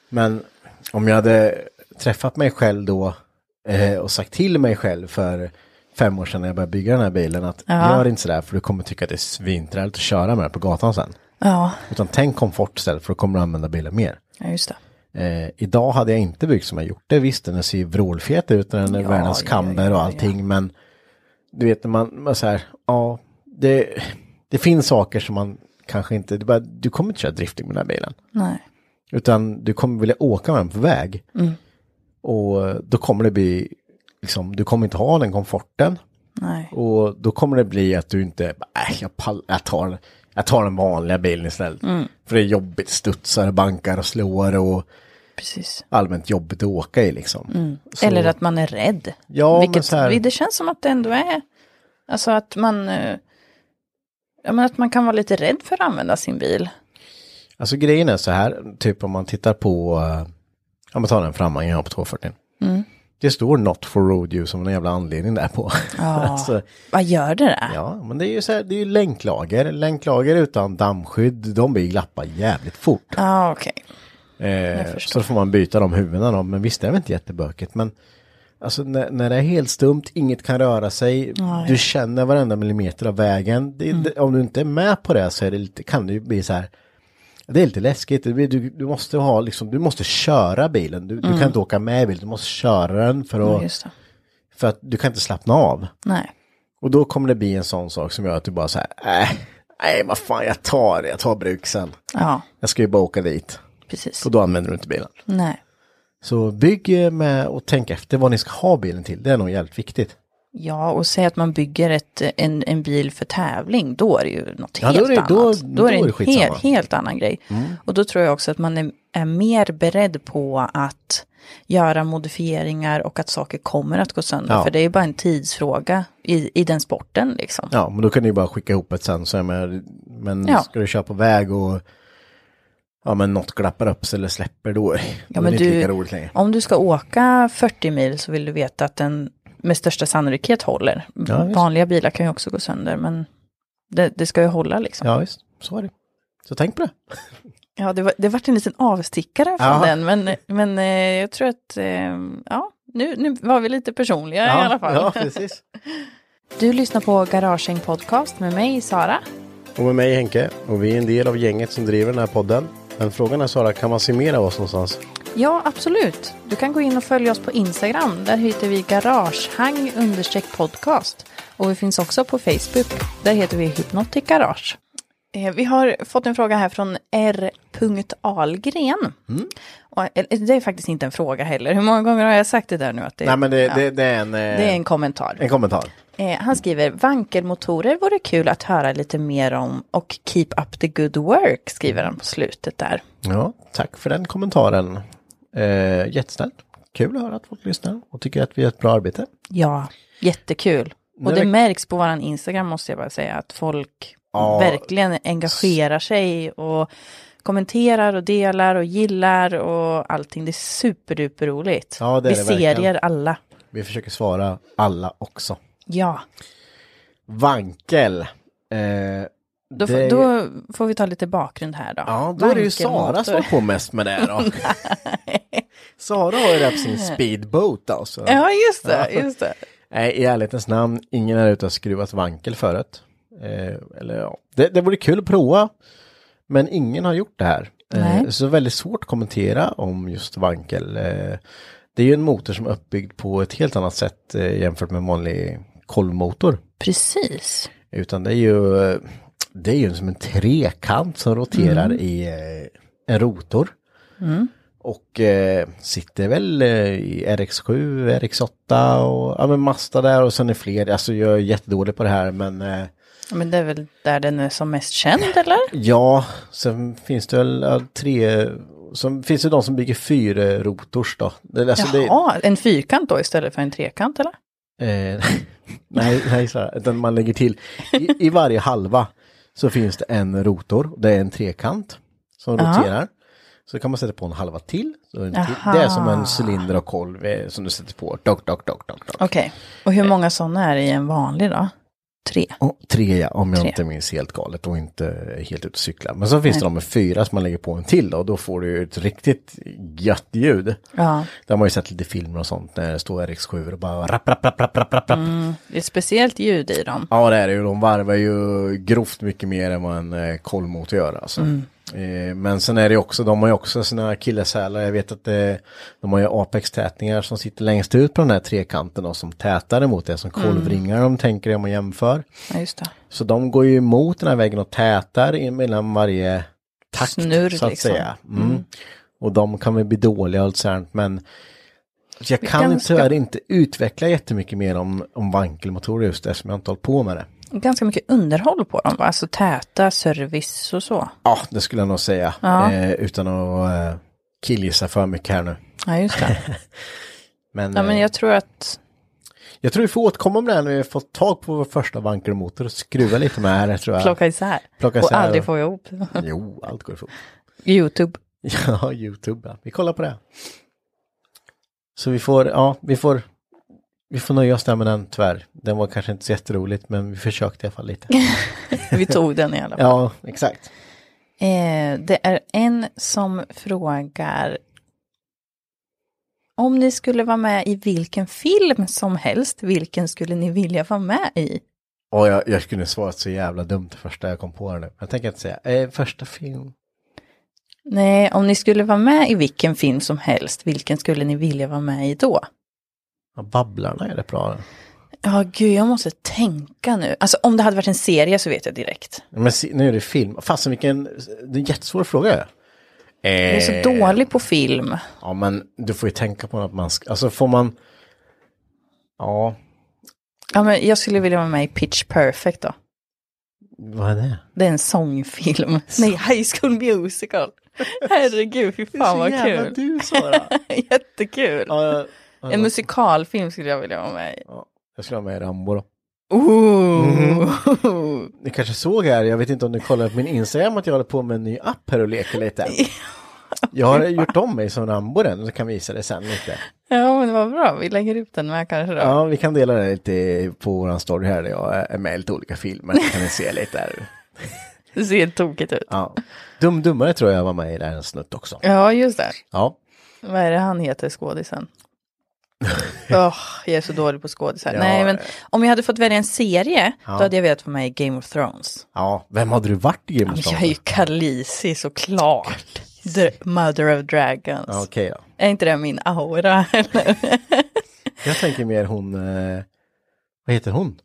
[SPEAKER 2] Men om jag hade träffat mig själv då eh, och sagt till mig själv för fem år sedan när jag började bygga den här bilen att gör inte sådär för du kommer tycka att det är svinträligt att köra med på gatan sen.
[SPEAKER 1] Ja,
[SPEAKER 2] Utan tänk komfort istället för då kommer du använda bilen mer.
[SPEAKER 1] ja, just det.
[SPEAKER 2] Eh, idag hade jag inte byggt som jag gjort det. Visst, den ser ju vrålfet ut, den är
[SPEAKER 1] Ja,
[SPEAKER 2] världens
[SPEAKER 1] ja,
[SPEAKER 2] kamber och
[SPEAKER 1] ja,
[SPEAKER 2] allting, men du vet när man, man så här, ja, det, det finns saker som man kanske inte, det är bara, du kommer inte köra drifting med den här bilen,
[SPEAKER 1] Nej.
[SPEAKER 2] utan du kommer vilja åka med den på väg. Och eh, då kommer det bli, liksom, du kommer inte ha den komforten.
[SPEAKER 1] Nej.
[SPEAKER 2] Och då kommer det bli att du inte, äh, jag, pall, jag, tar, jag tar den vanliga bilen istället.
[SPEAKER 1] Mm.
[SPEAKER 2] För det är jobbigt, studsar, bankar och slår och
[SPEAKER 1] Precis. Mm.
[SPEAKER 2] allmänt jobbigt att åka i liksom. Så-
[SPEAKER 1] Eller att man är rädd.
[SPEAKER 2] Ja, men
[SPEAKER 1] Vilket,
[SPEAKER 2] så här-
[SPEAKER 1] Det känns som att det ändå är... Alltså att man... eh, Ja, men att man kan vara lite rädd för att använda sin bil.
[SPEAKER 2] Alltså grejen är så här, typ om man tittar på, eh, ja men ta den framvagnen jag har på 240.
[SPEAKER 1] Mm.
[SPEAKER 2] Det står not for road use som en jävla anledning där på. [laughs] alltså,
[SPEAKER 1] Vad gör det där?
[SPEAKER 2] ja, men det är ju så här, det är ju länklager, länklager utan dammskydd, de blir glappa jävligt fort.
[SPEAKER 1] Ja, okej.
[SPEAKER 2] Eh, så då får man byta de huvudena då, men visst det är väl inte jättebökigt. Men alltså när, när det är helt stumt, inget kan röra sig, du känner varenda millimeter av vägen.
[SPEAKER 1] Mm.
[SPEAKER 2] Det, det, om du inte är med på det så är det lite, kan det ju bli så här, det är lite läskigt, det blir, du, du måste ha liksom, du måste köra bilen, du, du kan inte åka med i bilen, du måste köra den för
[SPEAKER 1] Mm. Ja,
[SPEAKER 2] att,
[SPEAKER 1] just det.
[SPEAKER 2] för att du kan inte slappna av.
[SPEAKER 1] Nej.
[SPEAKER 2] Och då kommer det bli en sån sak som gör att du bara så här, nej, nej vad fan jag tar, jag tar bruksen.
[SPEAKER 1] Ja,
[SPEAKER 2] Jag ska ju bara åka dit.
[SPEAKER 1] precis.
[SPEAKER 2] Och då använder du inte bilen.
[SPEAKER 1] Nej.
[SPEAKER 2] Så bygg eh, med och tänk efter vad ni ska ha bilen till. Det är nog jävligt viktigt.
[SPEAKER 1] Ja, och säg att man bygger ett, en, en bil för tävling, då är det ju något
[SPEAKER 2] Ja, då
[SPEAKER 1] helt
[SPEAKER 2] är det-
[SPEAKER 1] annat.
[SPEAKER 2] då-
[SPEAKER 1] då är det en
[SPEAKER 2] skitsamma. Mm.
[SPEAKER 1] helt, helt annan grej. Och då tror jag också att man är, är mer beredd på att göra modifieringar och att saker kommer att gå sönder.
[SPEAKER 2] Ja.
[SPEAKER 1] För det är bara en tidsfråga i, i den sporten liksom.
[SPEAKER 2] Ja, men då kan ni ju bara skicka ihop ett sen. Så jag menar, men
[SPEAKER 1] Ja.
[SPEAKER 2] ska du köra på väg och ja, men något glappar upp sig eller släpper då. Ja,
[SPEAKER 1] men
[SPEAKER 2] det är det
[SPEAKER 1] du-
[SPEAKER 2] inte lika roligt längre.
[SPEAKER 1] Om du ska åka 40 mil så vill du veta att den med största sannolikhet håller.
[SPEAKER 2] visst.
[SPEAKER 1] Vanliga bilar kan ju också gå sönder, men det, det ska ju hålla liksom.
[SPEAKER 2] Ja, visst. Så är det. Så tänk på det.
[SPEAKER 1] Ja, det, var, det vart en liten avstickare från
[SPEAKER 2] Ja.
[SPEAKER 1] den, men, men eh, jag tror att, eh, ja, nu, nu var vi lite personliga i alla fall.
[SPEAKER 2] ja, precis.
[SPEAKER 1] Du lyssnar på Garagehäng Podcast med mig, Sara.
[SPEAKER 2] Och med mig Henke. Och vi är en del av gänget som driver den här podden. Men frågan är Sara, kan man summera oss någonstans?
[SPEAKER 1] Ja, absolut. Du kan gå in och följa oss på Instagram. Där heter vi garagehang understreck podcast. Och vi finns också på Facebook. Där heter vi Hypnotic Garage. Eh, Vi har fått en fråga här från R. Ahlgren.
[SPEAKER 2] Mm.
[SPEAKER 1] Och, eh, Det är faktiskt inte en fråga heller. Hur många gånger har jag sagt det där nu? Att det,
[SPEAKER 2] Nej men det,
[SPEAKER 1] ja,
[SPEAKER 2] det, det är en... eh,
[SPEAKER 1] det är en kommentar.
[SPEAKER 2] en kommentar.
[SPEAKER 1] Eh, han skriver, vankelmotorer vore kul att höra lite mer om och keep up the good work, skriver han på slutet där.
[SPEAKER 2] Ja, tack för den kommentaren. Eh, jättesnällt. Kul att höra att folk lyssnar och tycker att vi gör ett bra arbete.
[SPEAKER 1] Ja, jättekul.
[SPEAKER 2] Nu
[SPEAKER 1] Och
[SPEAKER 2] är
[SPEAKER 1] det
[SPEAKER 2] det-
[SPEAKER 1] märks på våran Instagram måste jag bara säga, att folk
[SPEAKER 2] Ja.
[SPEAKER 1] verkligen engagerar sig och kommenterar och delar och gillar och allting. Det är superduper roligt.
[SPEAKER 2] Ja, det är
[SPEAKER 1] Vi
[SPEAKER 2] det
[SPEAKER 1] ser
[SPEAKER 2] verkligen.
[SPEAKER 1] er alla.
[SPEAKER 2] Vi försöker svara alla också.
[SPEAKER 1] Ja,
[SPEAKER 2] Vankel. Eh,
[SPEAKER 1] då, får-
[SPEAKER 2] Det-
[SPEAKER 1] då får vi ta lite bakgrund här då.
[SPEAKER 2] ja, då är det ju
[SPEAKER 1] Vankelmotor.
[SPEAKER 2] Sara som har på mest med det då. Sara har ju det
[SPEAKER 1] [laughs]
[SPEAKER 2] på sin speedboat alltså.
[SPEAKER 1] [laughs] Ja, just det, just det.
[SPEAKER 2] Nej, i ärlighetens namn, ingen här ute har skruvat vankel förut. Eh, eller ja, det, det vore kul att prova. Men ingen har gjort det här. Eh,
[SPEAKER 1] Nej.
[SPEAKER 2] så väldigt svårt att kommentera om just vankel. Eh, det är ju en motor som är uppbyggd på ett helt annat sätt eh, jämfört med en vanlig kolvmotor.
[SPEAKER 1] Precis.
[SPEAKER 2] Utan det är ju, eh, det är ju som en trekant som roterar i eh, en rotor. Och eh, sitter väl eh, i RX7, RX8 och ja, men Mazda där och sen är fler. Alltså jag är jättedålig på det här men eh,
[SPEAKER 1] Ja, Men det är väl där den är som mest känd, eller?
[SPEAKER 2] ja, sen finns det väl ja, tre, som, finns det de som bygger fyra rotors då. Det, alltså, det,
[SPEAKER 1] Jaha, en fyrkant då istället för en trekant, eller?
[SPEAKER 2] Eh, [laughs] nej, nej så här, utan man lägger till. I, I varje halva så finns det en rotor, det är en trekant som roterar. Så kan man sätta på en halva till. Så en till. Det är som en cylinder och kolv eh, som du sätter på. Dock, dock, dock, dock, dock.
[SPEAKER 1] Okej, och hur många sådana är det i en vanlig då? Tre.
[SPEAKER 2] Och tre, ja, om jag
[SPEAKER 1] Tre.
[SPEAKER 2] inte minns helt galet och inte helt ute och cyklar. Men så finns det de med fyra som man lägger på en till då, och då får du ju ett riktigt gött ljud.
[SPEAKER 1] Ja,
[SPEAKER 2] Där har man ju sett lite filmer och sånt när det står RX7 och bara rapp, rapp, rapp, rapp, rapp, rapp.
[SPEAKER 1] det är ett speciellt ljud i dem.
[SPEAKER 2] Ja det är det ju, de varvar ju grovt mycket mer än vad en eh, kolvmotor gör alltså.
[SPEAKER 1] Mm.
[SPEAKER 2] Eh, men sen är det ju också, de har ju också sina killeshälar, jag vet att eh, de har ju Apex-tätningar som sitter längst ut på den här trekanten och som tätar emot det som
[SPEAKER 1] Mm.
[SPEAKER 2] kolvringar om de tänker det om man jämför.
[SPEAKER 1] Ja, just det.
[SPEAKER 2] Så de går ju emot den här väggen och tätar i- mellan varje takt
[SPEAKER 1] Snurr,
[SPEAKER 2] så att
[SPEAKER 1] liksom.
[SPEAKER 2] säga. Mm. Och de kan väl bli dåliga och allt sånt men jag kan
[SPEAKER 1] kan-
[SPEAKER 2] tyvärr inte utveckla jättemycket mer om, om vankelmotorer just eftersom jag inte hållit på med det.
[SPEAKER 1] Ganska mycket underhåll på dem, va? alltså täta, service och så.
[SPEAKER 2] Ja, det skulle jag nog säga.
[SPEAKER 1] Ja.
[SPEAKER 2] Eh, utan att eh, killgissa för mycket här nu.
[SPEAKER 1] Ja, just det. [laughs]
[SPEAKER 2] Men,
[SPEAKER 1] Ja, men
[SPEAKER 2] eh,
[SPEAKER 1] jag tror att,
[SPEAKER 2] jag tror vi får återkomma om det här när vi har fått tag på vår första vankelmotor och skruva lite med här tror jag.
[SPEAKER 1] plocka isär.
[SPEAKER 2] Plocka
[SPEAKER 1] och
[SPEAKER 2] isär
[SPEAKER 1] aldrig
[SPEAKER 2] och-
[SPEAKER 1] få ihop.
[SPEAKER 2] Jo, allt går fort. [laughs]
[SPEAKER 1] YouTube.
[SPEAKER 2] Ja, YouTube. Ja. Vi kollar på det. Så vi får, ja, vi får, vi får nöja oss där med den tyvärr. Den var kanske inte så jätteroligt men vi försökte i alla
[SPEAKER 1] [laughs]
[SPEAKER 2] fall lite.
[SPEAKER 1] Vi tog den i alla fall.
[SPEAKER 2] ja, exakt.
[SPEAKER 1] [laughs] Eh, det är en som frågar om ni skulle vara med i vilken film som helst, vilken skulle ni vilja vara med i?
[SPEAKER 2] Och jag, jag skulle svarat så jävla dumt det första jag kom på här nu. Jag tänker inte säga, eh, första film.
[SPEAKER 1] Nej, om ni skulle vara med i vilken film som helst, vilken skulle ni vilja vara med i då?
[SPEAKER 2] Ja, Babblarna är det bra.
[SPEAKER 1] Ja, gud, jag måste tänka nu. Alltså om det hade varit en serie så vet jag direkt.
[SPEAKER 2] Ja, Men se- nu är det film. Fasen vilken, det är en jättesvår fråga. Eh,
[SPEAKER 1] Jag är så dålig på film.
[SPEAKER 2] Ja men du får ju tänka på att man ska, alltså får man, ja,
[SPEAKER 1] Ja, men jag skulle vilja vara med i Pitch Perfect då.
[SPEAKER 2] vad är det?
[SPEAKER 1] Det är en sångfilm. Nej, High School Musical. [laughs] Herregud, fy fan vad kul. [laughs]
[SPEAKER 2] du Sara.
[SPEAKER 1] Jättekul.
[SPEAKER 2] ja, jag,
[SPEAKER 1] En musikalfilm skulle jag vilja vara med i.
[SPEAKER 2] jag skulle ha med Rambo då.
[SPEAKER 1] Ooh. Mm.
[SPEAKER 2] Ni kanske såg här, jag vet inte om ni kollade på min Instagram att jag håller på med en ny app här och leker
[SPEAKER 1] [laughs]
[SPEAKER 2] lite. Jag har gjort om mig som Rambo den, så kan visa det sen lite.
[SPEAKER 1] [laughs] Ja, men vad bra. Vi lägger upp den med kanske då.
[SPEAKER 2] Ja, vi kan dela det lite på våran story här där jag är med i lite olika filmer, så kan ni se lite där.
[SPEAKER 1] Det ser helt tokigt ut.
[SPEAKER 2] Ja. Dum Dummare tror jag var med i den snutt också.
[SPEAKER 1] Ja, just det.
[SPEAKER 2] Ja.
[SPEAKER 1] Vad är det han heter,
[SPEAKER 2] [laughs]
[SPEAKER 1] skådisen? Åh, jag är så dålig på skådisar.
[SPEAKER 2] Ja.
[SPEAKER 1] Nej, men om jag hade fått välja en serie,
[SPEAKER 2] Ja.
[SPEAKER 1] då hade jag velat vara med i Game of Thrones.
[SPEAKER 2] ja, vem hade du varit i Game
[SPEAKER 1] Men
[SPEAKER 2] of
[SPEAKER 1] jag är ju
[SPEAKER 2] Thrones?
[SPEAKER 1] Khaleesi såklart. The mother of dragons.
[SPEAKER 2] Ja, Okej då.
[SPEAKER 1] Är inte det min aura? [laughs] eller?
[SPEAKER 2] Jag tänker mer hon, eh, vad heter hon?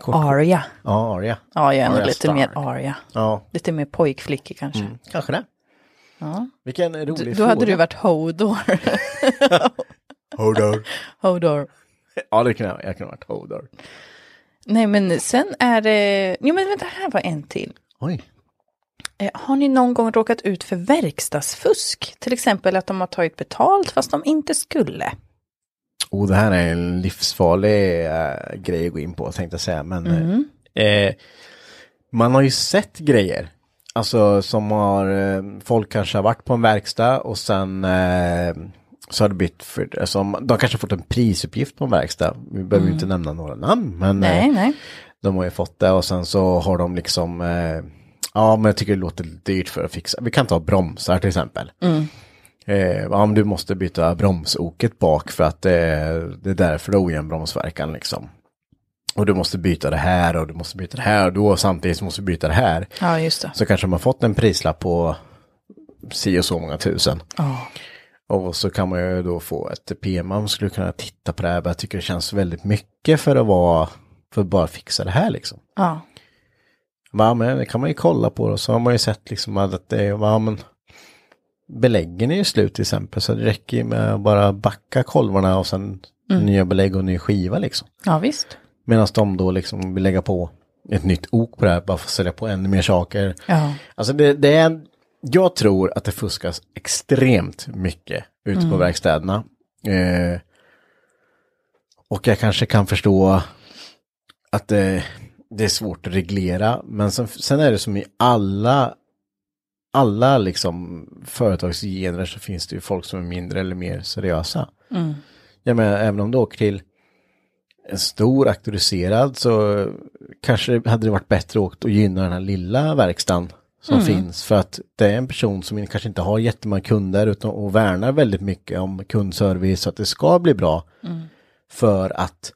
[SPEAKER 2] Kort-
[SPEAKER 1] Aria.
[SPEAKER 2] Ja, Arya.
[SPEAKER 1] Ja, jag är nog
[SPEAKER 2] Arya
[SPEAKER 1] lite
[SPEAKER 2] Stark. Mm.
[SPEAKER 1] mer aria.
[SPEAKER 2] Ja,
[SPEAKER 1] Lite mer pojkflickig kanske.
[SPEAKER 2] kanske det.
[SPEAKER 1] Ja.
[SPEAKER 2] Vilken rolig
[SPEAKER 1] Du,
[SPEAKER 2] fråga.
[SPEAKER 1] då hade du varit Hodor. [laughs]
[SPEAKER 2] Hodor.
[SPEAKER 1] Hodor.
[SPEAKER 2] Ja, det kunde jag, jag kunde ha varit Hodor.
[SPEAKER 1] Nej, men sen är det... Jo, men vänta, här var en till.
[SPEAKER 2] Oj.
[SPEAKER 1] Eh, Har ni någon gång råkat ut för verkstadsfusk? Till exempel att de har tagit betalt fast de inte skulle.
[SPEAKER 2] Oh, det här är en livsfarlig eh, grej att gå in på tänkte jag säga. Men eh, eh, man har ju sett grejer. Alltså som har, eh, folk kanske har varit på en verkstad och sen eh, så har det bytt, för, alltså, om- de kanske har fått en prisuppgift på en verkstad. Vi behöver ju inte nämna några namn men
[SPEAKER 1] Nej,
[SPEAKER 2] eh,
[SPEAKER 1] nej.
[SPEAKER 2] de har ju fått det och sen så har de liksom, eh, ja men jag tycker det låter lite dyrt för att fixa, vi kan ta bromsar till exempel. Eh, ja, men du måste byta bromsoket bak för att eh, det är därför det är ojämn bromsverkan liksom. Och du måste byta det här och du måste byta det här och då samtidigt så måste du byta det här.
[SPEAKER 1] Ja, just det.
[SPEAKER 2] Så kanske man fått en prislapp på si och så många tusen.
[SPEAKER 1] Ja.
[SPEAKER 2] Och så kan man ju då få ett PM om man skulle kunna titta på det här. men Jag tycker det känns väldigt mycket för att vara, för att bara fixa det här liksom.
[SPEAKER 1] ja.
[SPEAKER 2] Va, men det kan man ju kolla på och så har man ju sett liksom att det är, va, men beläggen är ju slut till exempel så det räcker ju med att bara backa kolvarna och sen nya belägg och ny skiva liksom.
[SPEAKER 1] ja visst.
[SPEAKER 2] Medan de då liksom vill lägga på ett nytt ok på det här bara för att sälja på ännu mer saker.
[SPEAKER 1] Ja.
[SPEAKER 2] Alltså det, det är, jag tror att det fuskas extremt mycket ute på verkstäderna. Eh, och jag kanske kan förstå att det, det är svårt att reglera, men sen, sen är det som i alla alla liksom företagsgener så finns det ju folk som är mindre eller mer seriösa. Jag menar, även om du åker till en stor auktoriserad så kanske hade det varit bättre åkt och gynna den här lilla verkstaden som finns för att det är en person som kanske inte har jättemånga kunder utan och värnar väldigt mycket om kundservice så att det ska bli bra för att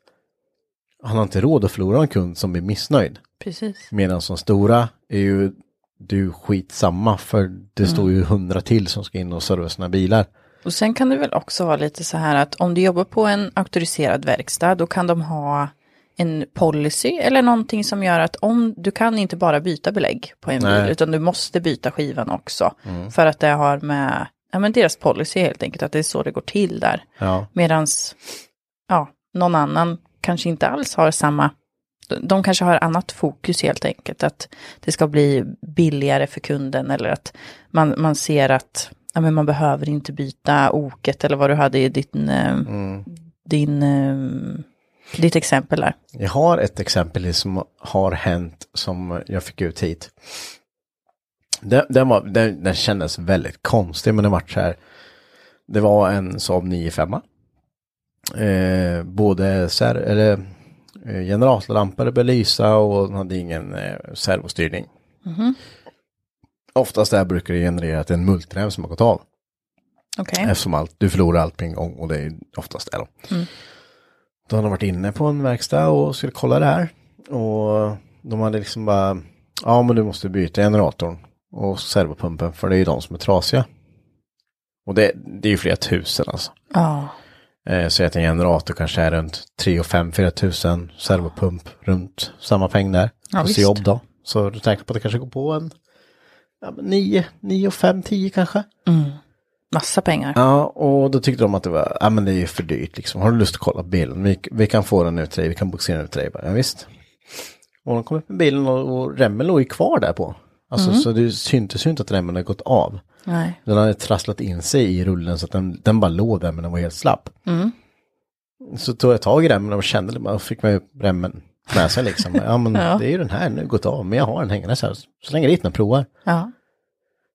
[SPEAKER 2] han har inte råd att förlora en kund som blir missnöjd.
[SPEAKER 1] Precis.
[SPEAKER 2] Medan som stora är ju du skitsamma för det står ju hundra till som ska in och serva sina bilar.
[SPEAKER 1] Och sen kan det väl också vara lite så här att om du jobbar på en auktoriserad verkstad då kan de ha en policy eller någonting som gör att om du kan inte bara byta belägg på en
[SPEAKER 2] Nej.
[SPEAKER 1] bil utan du måste byta skivan också. För att det har med ja, men deras policy helt enkelt att det är så det går till där.
[SPEAKER 2] Ja.
[SPEAKER 1] Medan ja, någon annan kanske inte alls har samma, de kanske har annat fokus helt enkelt, att det ska bli billigare för kunden eller att man, man ser att ja, men man behöver inte byta oket eller vad du hade i din, eh,
[SPEAKER 2] Mm.
[SPEAKER 1] din, eh, ditt exempel där.
[SPEAKER 2] Jag har ett exempel som har hänt som jag fick ut hit. Den, den, var, den, den kändes väldigt konstig men den var så här. Det var en Saab 95. Eh, både ser, eller, eh, generatorlampor började lysa och den hade ingen eh, servostyrning. Oftast där brukar det generera att det är en multirem som har gått av.
[SPEAKER 1] Okej,
[SPEAKER 2] Eftersom allt, du förlorar allt på en gång och det är oftast det då.
[SPEAKER 1] Mm.
[SPEAKER 2] Då hade de varit inne på en verkstad och skulle kolla det här. Och de hade liksom bara, ja men du måste byta generatorn och servopumpen för det är ju de som är trasiga. Och det, det är ju flera tusen alltså.
[SPEAKER 1] ja,
[SPEAKER 2] Eh, så att en generator kanske är runt 3 och 5 4 tusen, servopump runt samma peng där.
[SPEAKER 1] Ja,
[SPEAKER 2] Plus
[SPEAKER 1] visst.
[SPEAKER 2] jobb då. Så du tänker på att det kanske går på en ja, 9, 9 och 5, 10 kanske.
[SPEAKER 1] massa pengar.
[SPEAKER 2] Ja, och då tyckte de att det var, ja men det är ju för dyrt liksom. Har du lust att kolla bilen? Vi, vi kan få den nu till dig, vi kan boxera den ut till dig. Jag bara, Ja, visst. Och de kom upp med bilen och, och remmen låg ju kvar där på. Alltså så det syntes ju inte att remmen hade gått av.
[SPEAKER 1] Nej,
[SPEAKER 2] Den hade trasslat in sig i rullen så att den, den bara låg där men den var helt slapp. Så tog jag tag i remmen och kände det, bara fick man upp remmen med sig liksom. Ja men det är ju den här nu, gått av, men jag har den hängande så här. Så länge dit den och provar.
[SPEAKER 1] ja,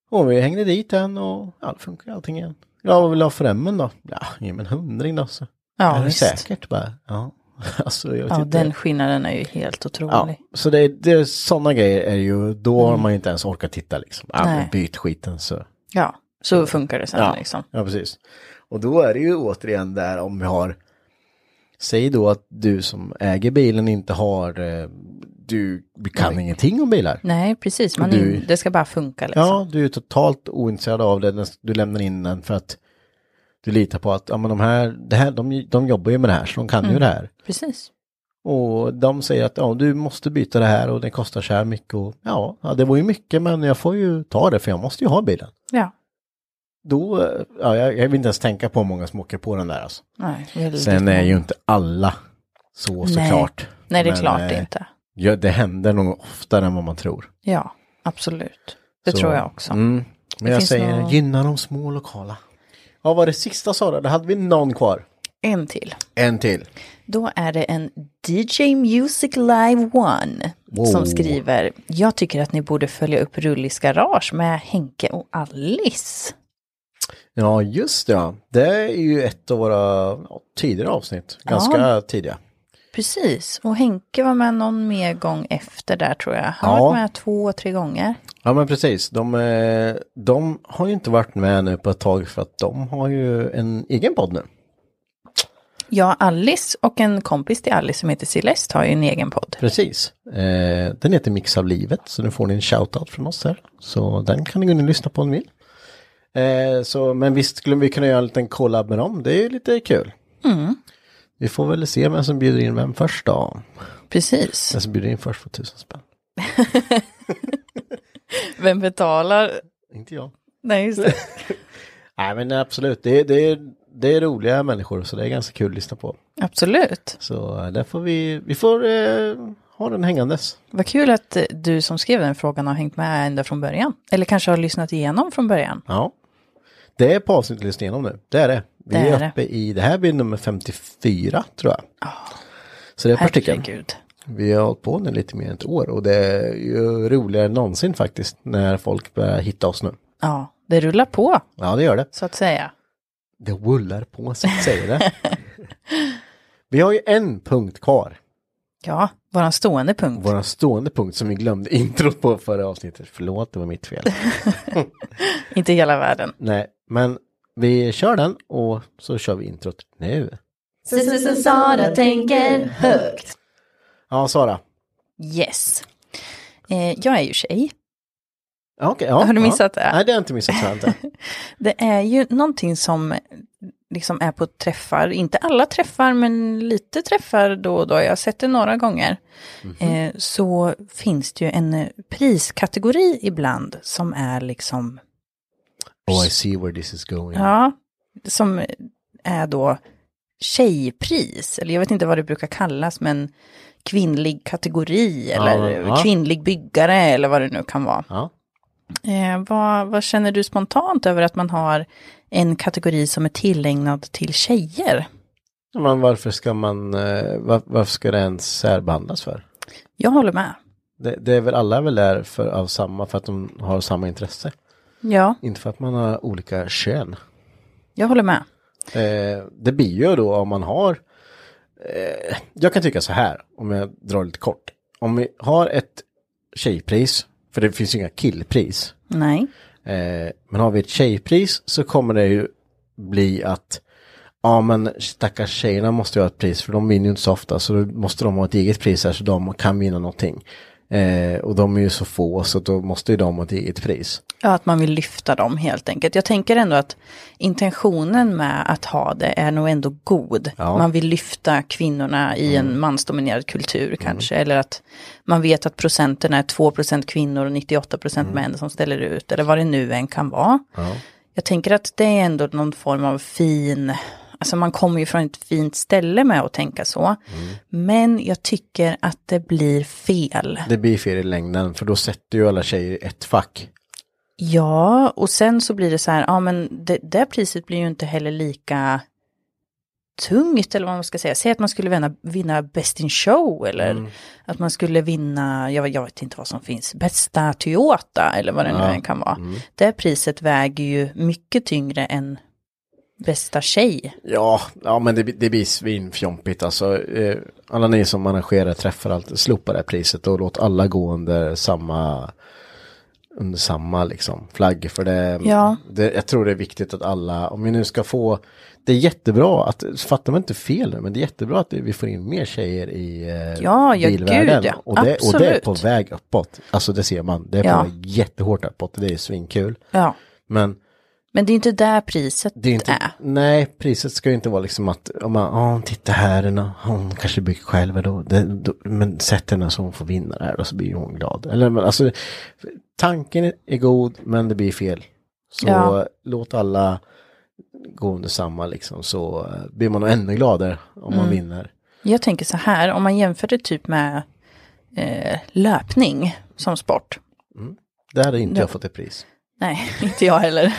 [SPEAKER 2] Och vi hängde dit den och ja, det funkar ju allting igen. Ja, vad vill du ha för remmen då? Ja, ge mig en hundring då. Så.
[SPEAKER 1] ja
[SPEAKER 2] är det
[SPEAKER 1] visst.
[SPEAKER 2] säkert bara? Ja. [laughs] Alltså, jag vet
[SPEAKER 1] Ja,
[SPEAKER 2] inte.
[SPEAKER 1] den skillnaden är ju helt
[SPEAKER 2] ja.
[SPEAKER 1] otrolig.
[SPEAKER 2] Så det, är- det är sådana grejer är ju, då har man ju inte ens orkat titta liksom. Ja,
[SPEAKER 1] Mm. Nej.
[SPEAKER 2] men byt skiten så.
[SPEAKER 1] Ja, så funkar det sen
[SPEAKER 2] Ja.
[SPEAKER 1] liksom.
[SPEAKER 2] ja, precis. Och då är det ju återigen där om vi har, säg då att du som äger bilen inte har eh, du kan ingenting om bilar.
[SPEAKER 1] Nej, precis. Man är-
[SPEAKER 2] Du-
[SPEAKER 1] det ska bara funka liksom.
[SPEAKER 2] Ja, du är totalt ointresserad av det. Du lämnar in den för att du litar på att ja, men de här, det här de, de jobbar ju med det här så de kan
[SPEAKER 1] Mm.
[SPEAKER 2] ju det här.
[SPEAKER 1] Precis.
[SPEAKER 2] Och de säger att ja, du måste byta det här och det kostar så här mycket. Och, ja, ja, det var ju mycket men jag får ju ta det för jag måste ju ha bilen.
[SPEAKER 1] Ja.
[SPEAKER 2] Då, eh, ja, jag, jag vill inte ens tänka på hur många som åker på den där alltså.
[SPEAKER 1] Nej, väldigt
[SPEAKER 2] Sen är
[SPEAKER 1] många.
[SPEAKER 2] ju inte alla så
[SPEAKER 1] Nej.
[SPEAKER 2] såklart.
[SPEAKER 1] Nej, det är
[SPEAKER 2] Men,
[SPEAKER 1] klart det
[SPEAKER 2] eh,
[SPEAKER 1] inte.
[SPEAKER 2] Ja, det händer nog oftare än vad man tror.
[SPEAKER 1] Ja, absolut. Det
[SPEAKER 2] Så-
[SPEAKER 1] tror jag också.
[SPEAKER 2] Mm. Men jag
[SPEAKER 1] finns
[SPEAKER 2] säger,
[SPEAKER 1] nog-
[SPEAKER 2] gynna de små lokala. Ja, var det sista Sara? Då hade vi någon kvar.
[SPEAKER 1] En till.
[SPEAKER 2] En till.
[SPEAKER 1] Då är det en DJ Music Live One
[SPEAKER 2] Wow.
[SPEAKER 1] som skriver. Jag tycker att ni borde följa upp Rullis garage med Henke och Alice.
[SPEAKER 2] Ja, just det. ja. Det är ju ett av våra ja, tidigare avsnitt. Ganska tidiga.
[SPEAKER 1] Precis, och Henke var med någon mer gång efter där tror jag. Han
[SPEAKER 2] Ja.
[SPEAKER 1] har varit med två, tre gånger.
[SPEAKER 2] Ja, men precis. De, eh, de har ju inte varit med nu på ett tag för att de har ju en egen podd nu.
[SPEAKER 1] Ja, Alice och en kompis till Alice som heter Celeste har ju en egen podd.
[SPEAKER 2] Precis. Eh, den heter Mix av livet, så nu får ni en shoutout från oss här. Så den kan ni gå in och lyssna på om ni vill. Eh, så, men visst skulle vi kunna göra en liten collab med dem, det är ju lite kul. Vi får väl se vem som bjuder in vem först då.
[SPEAKER 1] Precis.
[SPEAKER 2] Den som bjuder in först får tusen spänn.
[SPEAKER 1] Vem betalar?
[SPEAKER 2] Inte jag.
[SPEAKER 1] Nej, just det.
[SPEAKER 2] Nej men absolut, det, det, är, det är roliga människor så det är ganska kul att lyssna på.
[SPEAKER 1] [laughs] Absolut.
[SPEAKER 2] Så eh, där får vi, vi får eh, ha den hängandes.
[SPEAKER 1] Vad kul att eh, du som skrev den frågan har hängt med ända från början. Eller kanske har lyssnat igenom från början.
[SPEAKER 2] Ja. Det är på avsnitt att lyssna igenom nu. Det är det. Vi
[SPEAKER 1] Det
[SPEAKER 2] är,
[SPEAKER 1] är det.
[SPEAKER 2] uppe i, det här blir nummer 54 tror jag. Så det är ett par stycken.
[SPEAKER 1] Herregud.
[SPEAKER 2] Vi har hållit på nu lite mer än ett år och det är ju roligare än någonsin faktiskt när folk börjar hitta oss nu.
[SPEAKER 1] Ja, det rullar på
[SPEAKER 2] Ja, det gör det.
[SPEAKER 1] så att säga.
[SPEAKER 2] Det rullar på så att
[SPEAKER 1] [laughs]
[SPEAKER 2] säga det. Vi har ju en punkt kvar.
[SPEAKER 1] Ja, våran stående punkt.
[SPEAKER 2] Vår stående punkt som vi glömde [laughs] introt på förra avsnittet. Förlåt, det var
[SPEAKER 1] [laughs]
[SPEAKER 2] mitt fel.
[SPEAKER 1] [laughs] Inte i hela världen.
[SPEAKER 2] Nej, men vi kör den och så kör vi introt nu.
[SPEAKER 3] Sara tänker högt.
[SPEAKER 2] Ja, Sara.
[SPEAKER 1] Yes. Eh, jag är ju tjej.
[SPEAKER 2] Ja, okej, ja,
[SPEAKER 1] Har du missat
[SPEAKER 2] ja.
[SPEAKER 1] det?
[SPEAKER 2] Nej, det har jag inte missat. tror jag inte.
[SPEAKER 1] Det är ju någonting som eh, liksom är på träffar, inte alla träffar men lite träffar då och då, jag har sett det några gånger.
[SPEAKER 2] Mhm.
[SPEAKER 1] Eh, så finns det ju en eh, priskategori ibland som är liksom
[SPEAKER 2] [laughs] Oh, I see where this is going.
[SPEAKER 1] Ja, som är då tjejpris, eller jag vet inte vad det brukar kallas, men kvinnlig kategori eller
[SPEAKER 2] ja.
[SPEAKER 1] kvinnlig byggare eller vad det nu kan vara.
[SPEAKER 2] Ja.
[SPEAKER 1] Eh, vad, vad känner du spontant över att man har en kategori som är tillägnad till tjejer?
[SPEAKER 2] Men varför ska man, eh, var, varför ska det ens särbehandlas för?
[SPEAKER 1] Jag håller med.
[SPEAKER 2] Det, det är väl alla är väl där för, av samma, för att de har samma intresse.
[SPEAKER 1] Ja,
[SPEAKER 2] Inte för att man har olika kön.
[SPEAKER 1] jag håller med.
[SPEAKER 2] Eh, det blir ju då om man har... Eh, jag kan tycka så här, om jag drar lite kort. Om vi har ett tjejpris, för det finns ju inga killpris.
[SPEAKER 1] Nej,
[SPEAKER 2] Eh, men har vi ett tjejpris så kommer det ju bli att ja men stackars tjejerna måste ju ha ett pris för de vinner ju inte så ofta så då måste de ha ett eget pris här så de kan vinna någonting. Eh, och de är ju så få så då måste ju de ha ett eget pris.
[SPEAKER 1] ja, att man vill lyfta dem helt enkelt. Jag tänker ändå att intentionen med att ha det är nog ändå god. Man vill lyfta kvinnorna i en mansdominerad kultur kanske. Eller att man vet att procenten är 2% kvinnor och 98% män som ställer ut. Eller vad det nu än kan vara. Jag tänker att det är ändå någon form av fin, alltså man kommer ju från ett fint ställe med att tänka så. Men jag tycker att det blir fel.
[SPEAKER 2] Det blir fel i längden för då sätter ju alla tjejer i ett fack.
[SPEAKER 1] Ja, och sen så blir det så här, ja men det där priset blir ju inte heller lika tungt eller vad man ska säga. Säg att man skulle vinna, vinna Best in Show eller
[SPEAKER 2] Mm.
[SPEAKER 1] att man skulle vinna, jag, jag vet inte vad som finns, Bästa Toyota eller vad det nu än kan vara.
[SPEAKER 2] Mm.
[SPEAKER 1] Det priset väger ju mycket tyngre än Bästa Tjej.
[SPEAKER 2] Ja, ja men det, det blir svinfjompigt alltså. Eh, alla ni som arrangerar träffar allt, slopa det här priset och låt alla gå under samma under samma liksom, flagg. För det,
[SPEAKER 1] Ja.
[SPEAKER 2] det, jag tror det är viktigt att alla, om vi nu ska få, det är jättebra att, fatta mig inte fel nu, men det är jättebra att det, vi får in mer tjejer i eh,
[SPEAKER 1] Ja, ja,
[SPEAKER 2] bilvärlden.
[SPEAKER 1] gud, ja.
[SPEAKER 2] och, det, och det är
[SPEAKER 1] Absolut.
[SPEAKER 2] på väg uppåt. Alltså det ser man, det är på
[SPEAKER 1] Ja.
[SPEAKER 2] väg jättehårt uppåt, det är svinkul.
[SPEAKER 1] Ja.
[SPEAKER 2] Men
[SPEAKER 1] Men det är inte där priset
[SPEAKER 2] det är inte,
[SPEAKER 1] är.
[SPEAKER 2] nej, priset ska ju inte vara liksom att, om man, oh, titta här, hon, hon kanske bygger själv, då, det, då, men sätt henne så hon får vinna det här, då så blir hon glad. Eller men alltså, tanken är god, men det blir fel. Så
[SPEAKER 1] Ja.
[SPEAKER 2] låt alla gå under samma liksom, så eh, blir man nog ännu gladare om man vinner.
[SPEAKER 1] Jag tänker så här, om man jämför det typ med eh, löpning som sport.
[SPEAKER 2] Där hade inte jag fått ett pris.
[SPEAKER 1] Nej, [laughs] inte jag heller.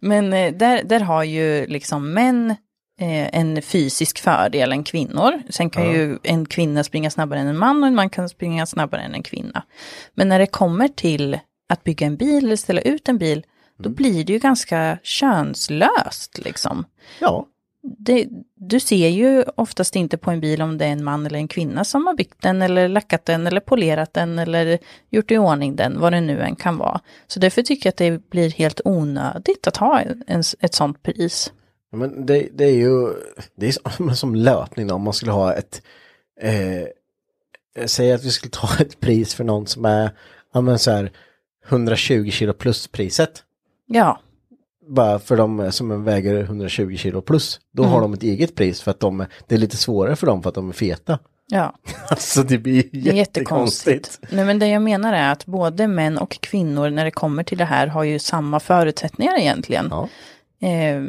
[SPEAKER 1] Men eh, där, där har ju liksom män eh, en fysisk fördel än kvinnor. Sen kan ju en kvinna springa snabbare än en man och en man kan springa snabbare än en kvinna. Men när det kommer till att bygga en bil eller ställa ut en bil, då blir det ju ganska könslöst liksom.
[SPEAKER 2] Ja,
[SPEAKER 1] det, du ser ju oftast inte på en bil om det är en man eller en kvinna som har byggt den eller lackat den eller polerat den eller gjort i ordning den, vad det nu än kan vara. Så därför tycker jag att det blir helt onödigt att ha en, ett sånt pris.
[SPEAKER 2] Ja, men det, det är ju, det är som, [laughs] men som löpning då, om man skulle ha ett, eh, säg att vi skulle ta ett pris för någon som är, ja men så här, 120 kilo plus priset.
[SPEAKER 1] Ja,
[SPEAKER 2] Bara för de som väger 120 kilo plus, då
[SPEAKER 1] Mm.
[SPEAKER 2] har de ett eget pris för att de, det är lite svårare för dem för att de är feta. [laughs]
[SPEAKER 1] ja.
[SPEAKER 2] Alltså det blir ju
[SPEAKER 1] Det är
[SPEAKER 2] jättekonstigt.
[SPEAKER 1] Nej, men det jag menar är att både män och kvinnor när det kommer till det här har ju samma förutsättningar egentligen.
[SPEAKER 2] Ja.
[SPEAKER 1] Eh,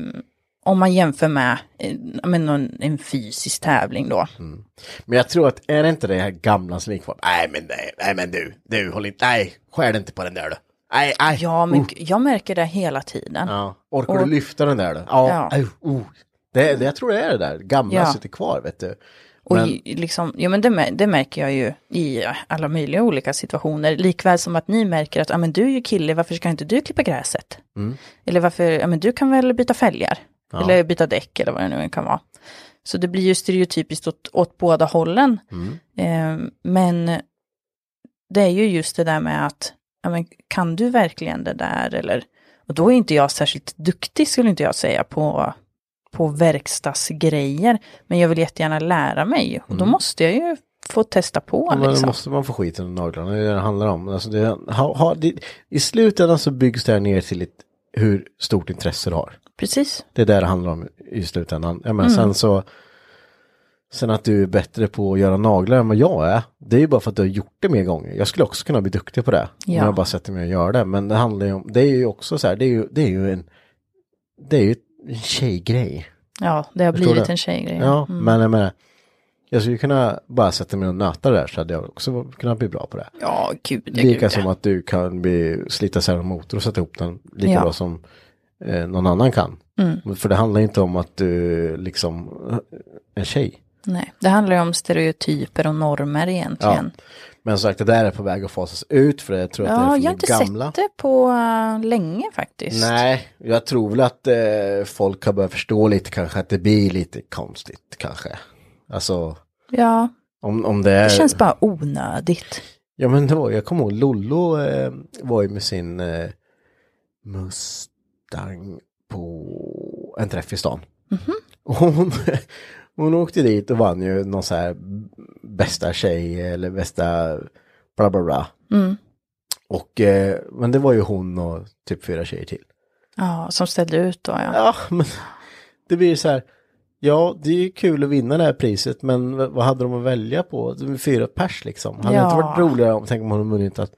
[SPEAKER 1] om man jämför med, eh, med någon, en fysisk tävling då.
[SPEAKER 2] Mm. Men jag tror att, är det inte det här gamla som gick kvar? Nej men nej, nej men du, du håll inte, nej, skär inte på den där då. Nej, nej.
[SPEAKER 1] Ja, men jag märker det hela tiden.
[SPEAKER 2] Oh. Ja. Orkar du lyfta den där då? Ja.
[SPEAKER 1] Ja.
[SPEAKER 2] Aj, oh. det, det, jag tror det är det där, gamla
[SPEAKER 1] Ja.
[SPEAKER 2] sitter kvar vet du.
[SPEAKER 1] Och
[SPEAKER 2] Men-
[SPEAKER 1] ju- liksom, ja, men det, mär- det märker jag ju i alla möjliga olika situationer. Likväl som att ni märker att ah, men du är ju kille, varför ska inte du klippa gräset? Eller varför, ja, men du kan väl byta fälgar? Eller byta däck eller vad det nu än kan vara. Så det blir ju stereotypiskt åt, åt båda hållen.
[SPEAKER 2] Mm.
[SPEAKER 1] Eh, men det är ju just det där med att, ja, men kan du verkligen det där? Eller, och då är inte jag särskilt duktig skulle inte jag säga på, på verkstadsgrejer. Men jag vill jättegärna lära mig och då måste jag ju få testa på.
[SPEAKER 2] Mm. Men då
[SPEAKER 1] liksom.
[SPEAKER 2] måste man få skiten i naglarna, det är det det handlar om. Alltså det, ha, ha, det, I slutändan så byggs det här ner till ett, hur stort intresse du har.
[SPEAKER 1] Precis.
[SPEAKER 2] Det är där det handlar om i slutändan. Ja, men
[SPEAKER 1] Mm.
[SPEAKER 2] sen så, sen att du är bättre på att göra naglar än vad jag är, det är ju bara för att du har gjort det mer gånger. Jag skulle också kunna bli duktig på det,
[SPEAKER 1] Ja.
[SPEAKER 2] om jag bara sätter mig och gör det. Men det handlar ju om, det är ju också så här, det är ju, det är ju en, det är ju en tjejgrej.
[SPEAKER 1] Ja, det Mm. har
[SPEAKER 2] Förstår
[SPEAKER 1] blivit
[SPEAKER 2] du?
[SPEAKER 1] en tjejgrej.
[SPEAKER 2] Ja, men jag menar, jag skulle kunna bara sätta mig och nöta där så hade jag också kunnat bli bra på det.
[SPEAKER 1] ja gud, ja, gud.
[SPEAKER 2] Lika
[SPEAKER 1] ja.
[SPEAKER 2] som att du kan bli, slita isär en motor och sätta ihop den lika
[SPEAKER 1] Ja. Mm.
[SPEAKER 2] bra som eh, någon annan kan. För det handlar ju inte om att du liksom eh, är tjej.
[SPEAKER 1] Nej, det handlar ju om stereotyper och normer egentligen.
[SPEAKER 2] Men som sagt, det där är på väg att fasas ut för jag tror
[SPEAKER 1] Ja,
[SPEAKER 2] att det är för
[SPEAKER 1] jag har
[SPEAKER 2] det
[SPEAKER 1] inte
[SPEAKER 2] gamla.
[SPEAKER 1] sett det på äh, länge faktiskt.
[SPEAKER 2] Nej, jag tror väl att eh, folk har börjat förstå lite kanske att det blir lite konstigt kanske. Alltså,
[SPEAKER 1] Ja,
[SPEAKER 2] om, om det är...
[SPEAKER 1] det känns bara onödigt.
[SPEAKER 2] Ja men det var, jag kommer ihåg Lollo eh, var ju med sin eh, Mustang på en träff i stan. Och hon, [laughs] hon åkte dit och vann ju någon så här bästa tjej eller bästa bla bla bla. Och, eh, men det var ju hon och typ fyra tjejer till.
[SPEAKER 1] Ja, som ställde ut då, ja.
[SPEAKER 2] Ja, men det blir så här. Ja, det är ju kul att vinna det här priset, men v- vad hade de att välja på? Det var Fyra pers liksom. Hade det
[SPEAKER 1] Ja.
[SPEAKER 2] inte varit roligare om, tänk om hon hade vunnit att,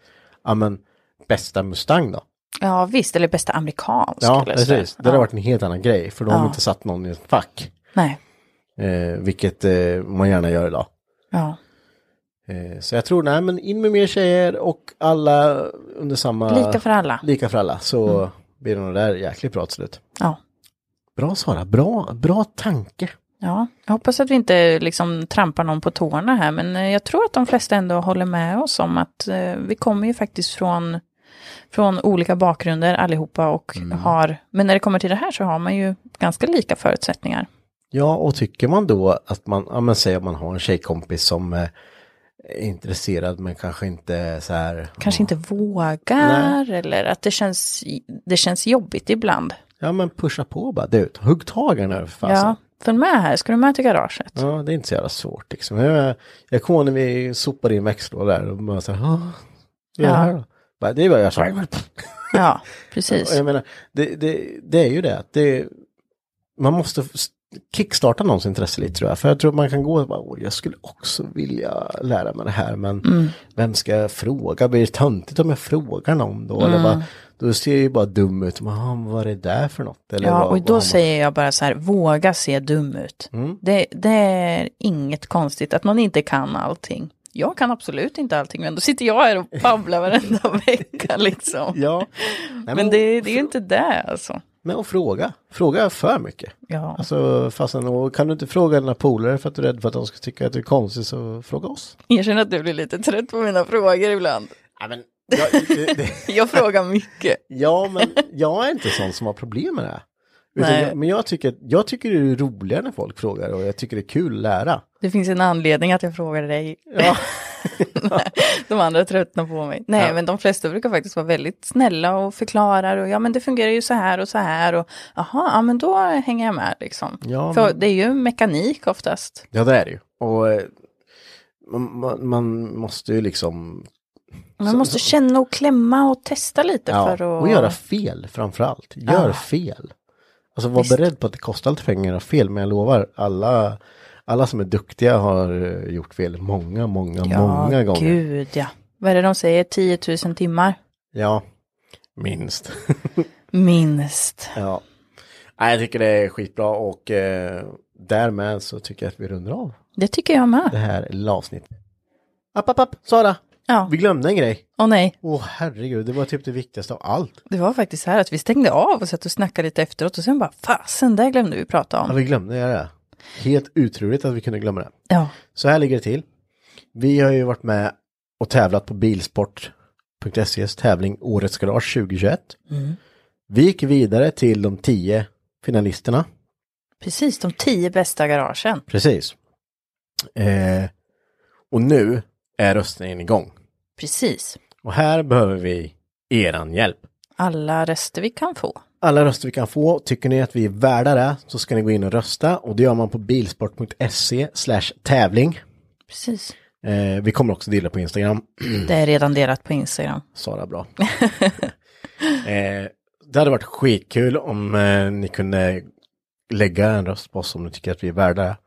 [SPEAKER 2] ja men, bästa Mustang då?
[SPEAKER 1] Ja, visst, eller bästa amerikansk.
[SPEAKER 2] Ja,
[SPEAKER 1] eller så.
[SPEAKER 2] precis. Det hade varit en helt annan grej, för då har man inte satt någon i ett fack.
[SPEAKER 1] Nej,
[SPEAKER 2] Eh, vilket eh, man gärna gör idag.
[SPEAKER 1] ja.
[SPEAKER 2] Eh, så jag tror, nej men in med mer tjejer och alla under samma...
[SPEAKER 1] Lika för alla. Mm.
[SPEAKER 2] Lika för alla, så blir det nog där jäkligt bra till slut.
[SPEAKER 1] Ja.
[SPEAKER 2] Bra Sara, bra, bra tanke.
[SPEAKER 1] ja. Jag hoppas att vi inte liksom trampar någon på tårna här, men eh, jag tror att de flesta ändå håller med oss om att eh, vi kommer ju faktiskt från, från olika bakgrunder allihopa och har, men när det kommer till det här så har man ju ganska lika förutsättningar.
[SPEAKER 2] Ja, och tycker man då att man, ja men säg att man har en tjejkompis som eh, är intresserad men kanske inte så här.
[SPEAKER 1] Kanske inte vågar eller att det känns, det känns jobbigt ibland.
[SPEAKER 2] Ja men pusha på bara. Du, hugg tag i den här för fasen.
[SPEAKER 1] Ja, följ med här, ska du med till garaget?
[SPEAKER 2] Alltså. Ja, det är inte så jävla svårt liksom. Jag, jag kommer ihåg när vi sopade in växellådor där och bara så här, "Ah, vad
[SPEAKER 1] Ja.
[SPEAKER 2] gör det här då? Bara, det är vad jag sa.
[SPEAKER 1] [laughs]
[SPEAKER 2] [laughs]
[SPEAKER 1] Ja,
[SPEAKER 2] Och
[SPEAKER 1] precis.
[SPEAKER 2] Jag menar, det, det, det är ju det att det, man måste f- kickstarta någons intresse lite tror jag. För jag tror man kan gå och bara, "Åh, jag skulle också vilja lära mig det här, men
[SPEAKER 1] Mm.
[SPEAKER 2] vem ska jag fråga? Blir det töntigt om jag frågar någon då?
[SPEAKER 1] Mm.
[SPEAKER 2] Eller bara, då ser jag ju bara dum ut. Man, "Ah, vad är det där för något? Eller
[SPEAKER 1] Ja,
[SPEAKER 2] vad,
[SPEAKER 1] och
[SPEAKER 2] vad har
[SPEAKER 1] då
[SPEAKER 2] man-
[SPEAKER 1] säger jag bara så här, våga se dum ut. Det, det är inget konstigt att man inte kan allting. Jag kan absolut inte allting, men då sitter jag här och babblar varenda [laughs] vecka liksom. [laughs]
[SPEAKER 2] Ja, Nej,
[SPEAKER 1] Men det, det är ju inte det alltså.
[SPEAKER 2] men och fråga. Fråga för mycket.
[SPEAKER 1] Ja.
[SPEAKER 2] Alltså fasen, och kan du inte fråga dina polare för att du är rädd för att de ska tycka att du är konstig så fråga oss.
[SPEAKER 1] Jag känner att du blir lite trött på mina frågor ibland.
[SPEAKER 2] Ja men, jag, det,
[SPEAKER 1] [laughs]
[SPEAKER 2] det,
[SPEAKER 1] Jag frågar mycket.
[SPEAKER 2] ja, men jag är inte sån som har problem med det. här. Utan
[SPEAKER 1] Nej.
[SPEAKER 2] jag, men jag tycker, jag tycker det är roligare när folk frågar och jag tycker det är kul att lära.
[SPEAKER 1] Det finns en anledning att jag frågade dig. [laughs] de andra tröttnar på mig. Nej, men de flesta brukar faktiskt vara väldigt snälla och förklarar och ja, men det fungerar ju så här och så här och jaha, ja, men då hänger jag med liksom.
[SPEAKER 2] Ja,
[SPEAKER 1] För
[SPEAKER 2] men-
[SPEAKER 1] det är ju mekanik oftast.
[SPEAKER 2] [laughs] Ja det är det ju. Och eh, man, man, man måste ju liksom...
[SPEAKER 1] Man måste känna och klämma och testa lite
[SPEAKER 2] Ja,
[SPEAKER 1] för att... Ah.
[SPEAKER 2] och göra fel framför allt. Gör
[SPEAKER 1] Ja.
[SPEAKER 2] fel. Alltså var beredd på att det kostar lite pengar att göra fel. Men jag lovar, alla, alla som är duktiga har eh, gjort fel många, många, många gånger.
[SPEAKER 1] gud ja. Vad är det de säger? 10 000 timmar?
[SPEAKER 2] Ja, minst. [laughs]
[SPEAKER 1] Minst.
[SPEAKER 2] Ja. Nej, jag tycker det är skitbra och eh, därmed så tycker jag att vi rundar av
[SPEAKER 1] Det tycker jag
[SPEAKER 2] det
[SPEAKER 1] med.
[SPEAKER 2] här lilla avsnittet. App, app, app, Sara!
[SPEAKER 1] Ja,
[SPEAKER 2] Vi glömde en grej.
[SPEAKER 1] och nej.
[SPEAKER 2] Åh herregud, det var typ det viktigaste av allt.
[SPEAKER 1] Det var faktiskt så här att vi stängde av och satt och snackade lite efteråt och sen bara fasen, där glömde vi prata
[SPEAKER 2] Ja,
[SPEAKER 1] om.
[SPEAKER 2] vi glömde göra det. Helt otroligt att vi kunde glömma det.
[SPEAKER 1] Ja,
[SPEAKER 2] Så här ligger det till. Vi har ju varit med och tävlat på bilsport.ses tävling Årets Garage 2021. Vi gick vidare till de tio finalisterna.
[SPEAKER 1] precis de tio bästa garagen.
[SPEAKER 2] Precis. Eh, och nu är röstningen igång.
[SPEAKER 1] Precis.
[SPEAKER 2] Och här behöver vi eran hjälp.
[SPEAKER 1] Alla röster vi kan få.
[SPEAKER 2] Alla röster vi kan få, tycker ni att vi är värda det så ska ni gå in och rösta och det gör man på bilsport.se slash tävling.
[SPEAKER 1] Precis.
[SPEAKER 2] Eh, vi kommer också dela på Instagram, [clears throat]
[SPEAKER 1] Det är redan delat på Instagram.
[SPEAKER 2] Sara bra. eh, det hade varit skitkul om eh, ni kunde lägga en röst på oss om ni tycker att vi är värda det.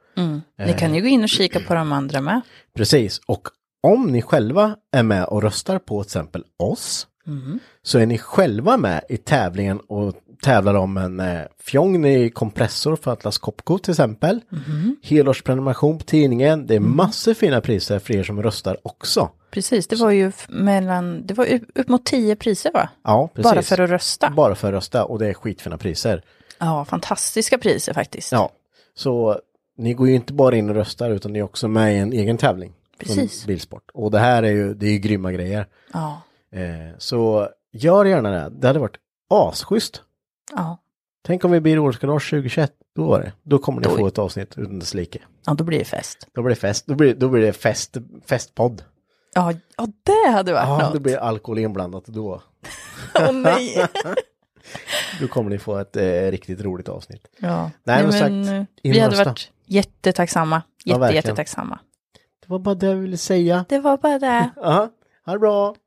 [SPEAKER 2] Eh.
[SPEAKER 1] Ni kan ju gå in och kika på de andra med.
[SPEAKER 2] Precis, och om ni själva är med och röstar på till exempel oss så är ni själva med i tävlingen och tävlar om en eh, fjong i kompressor för Atlas Copco till exempel. Helårsprenumeration på tidningen. Det är massor fina priser för er som röstar också.
[SPEAKER 1] Precis, det var ju f- mellan, det var ju upp mot tio priser va?
[SPEAKER 2] Ja, precis.
[SPEAKER 1] Bara för att rösta.
[SPEAKER 2] Bara för att rösta och det är skitfina priser.
[SPEAKER 1] Ja, fantastiska priser faktiskt.
[SPEAKER 2] Ja, så ni går ju inte bara in och röstar utan ni är också med i en egen tävling. från
[SPEAKER 1] Precis.
[SPEAKER 2] Bilsport. Och det här är ju, det är ju grymma grejer.
[SPEAKER 1] Ja,
[SPEAKER 2] Eh, så gör gärna det. Det hade varit asschysst.
[SPEAKER 1] ja.
[SPEAKER 2] Tänk om vi blir Årets Garage 2021. Då var det. Då kommer ni
[SPEAKER 1] Då-
[SPEAKER 2] få ett avsnitt utan dess like.
[SPEAKER 1] ja då blir det fest.
[SPEAKER 2] Då blir det fest. Då blir, då blir det fest, festpodd.
[SPEAKER 1] Ja, ja det hade varit
[SPEAKER 2] Ja,
[SPEAKER 1] något.
[SPEAKER 2] då blir alkohol inblandat. Då,
[SPEAKER 1] [laughs] Åh,
[SPEAKER 2] [laughs]
[SPEAKER 1] nej.
[SPEAKER 2] då kommer ni få ett eh, riktigt roligt avsnitt.
[SPEAKER 1] Ja,
[SPEAKER 2] Nej, men sagt,
[SPEAKER 1] eh,
[SPEAKER 2] in
[SPEAKER 1] vi
[SPEAKER 2] och
[SPEAKER 1] hade
[SPEAKER 2] rösta.
[SPEAKER 1] varit jättetacksamma.
[SPEAKER 2] Ja,
[SPEAKER 1] Jätte,
[SPEAKER 2] verkligen.
[SPEAKER 1] jättetacksamma.
[SPEAKER 2] Det var bara det jag ville säga.
[SPEAKER 1] Det var bara
[SPEAKER 2] [laughs]
[SPEAKER 1] det.
[SPEAKER 2] Aha. Ha det bra.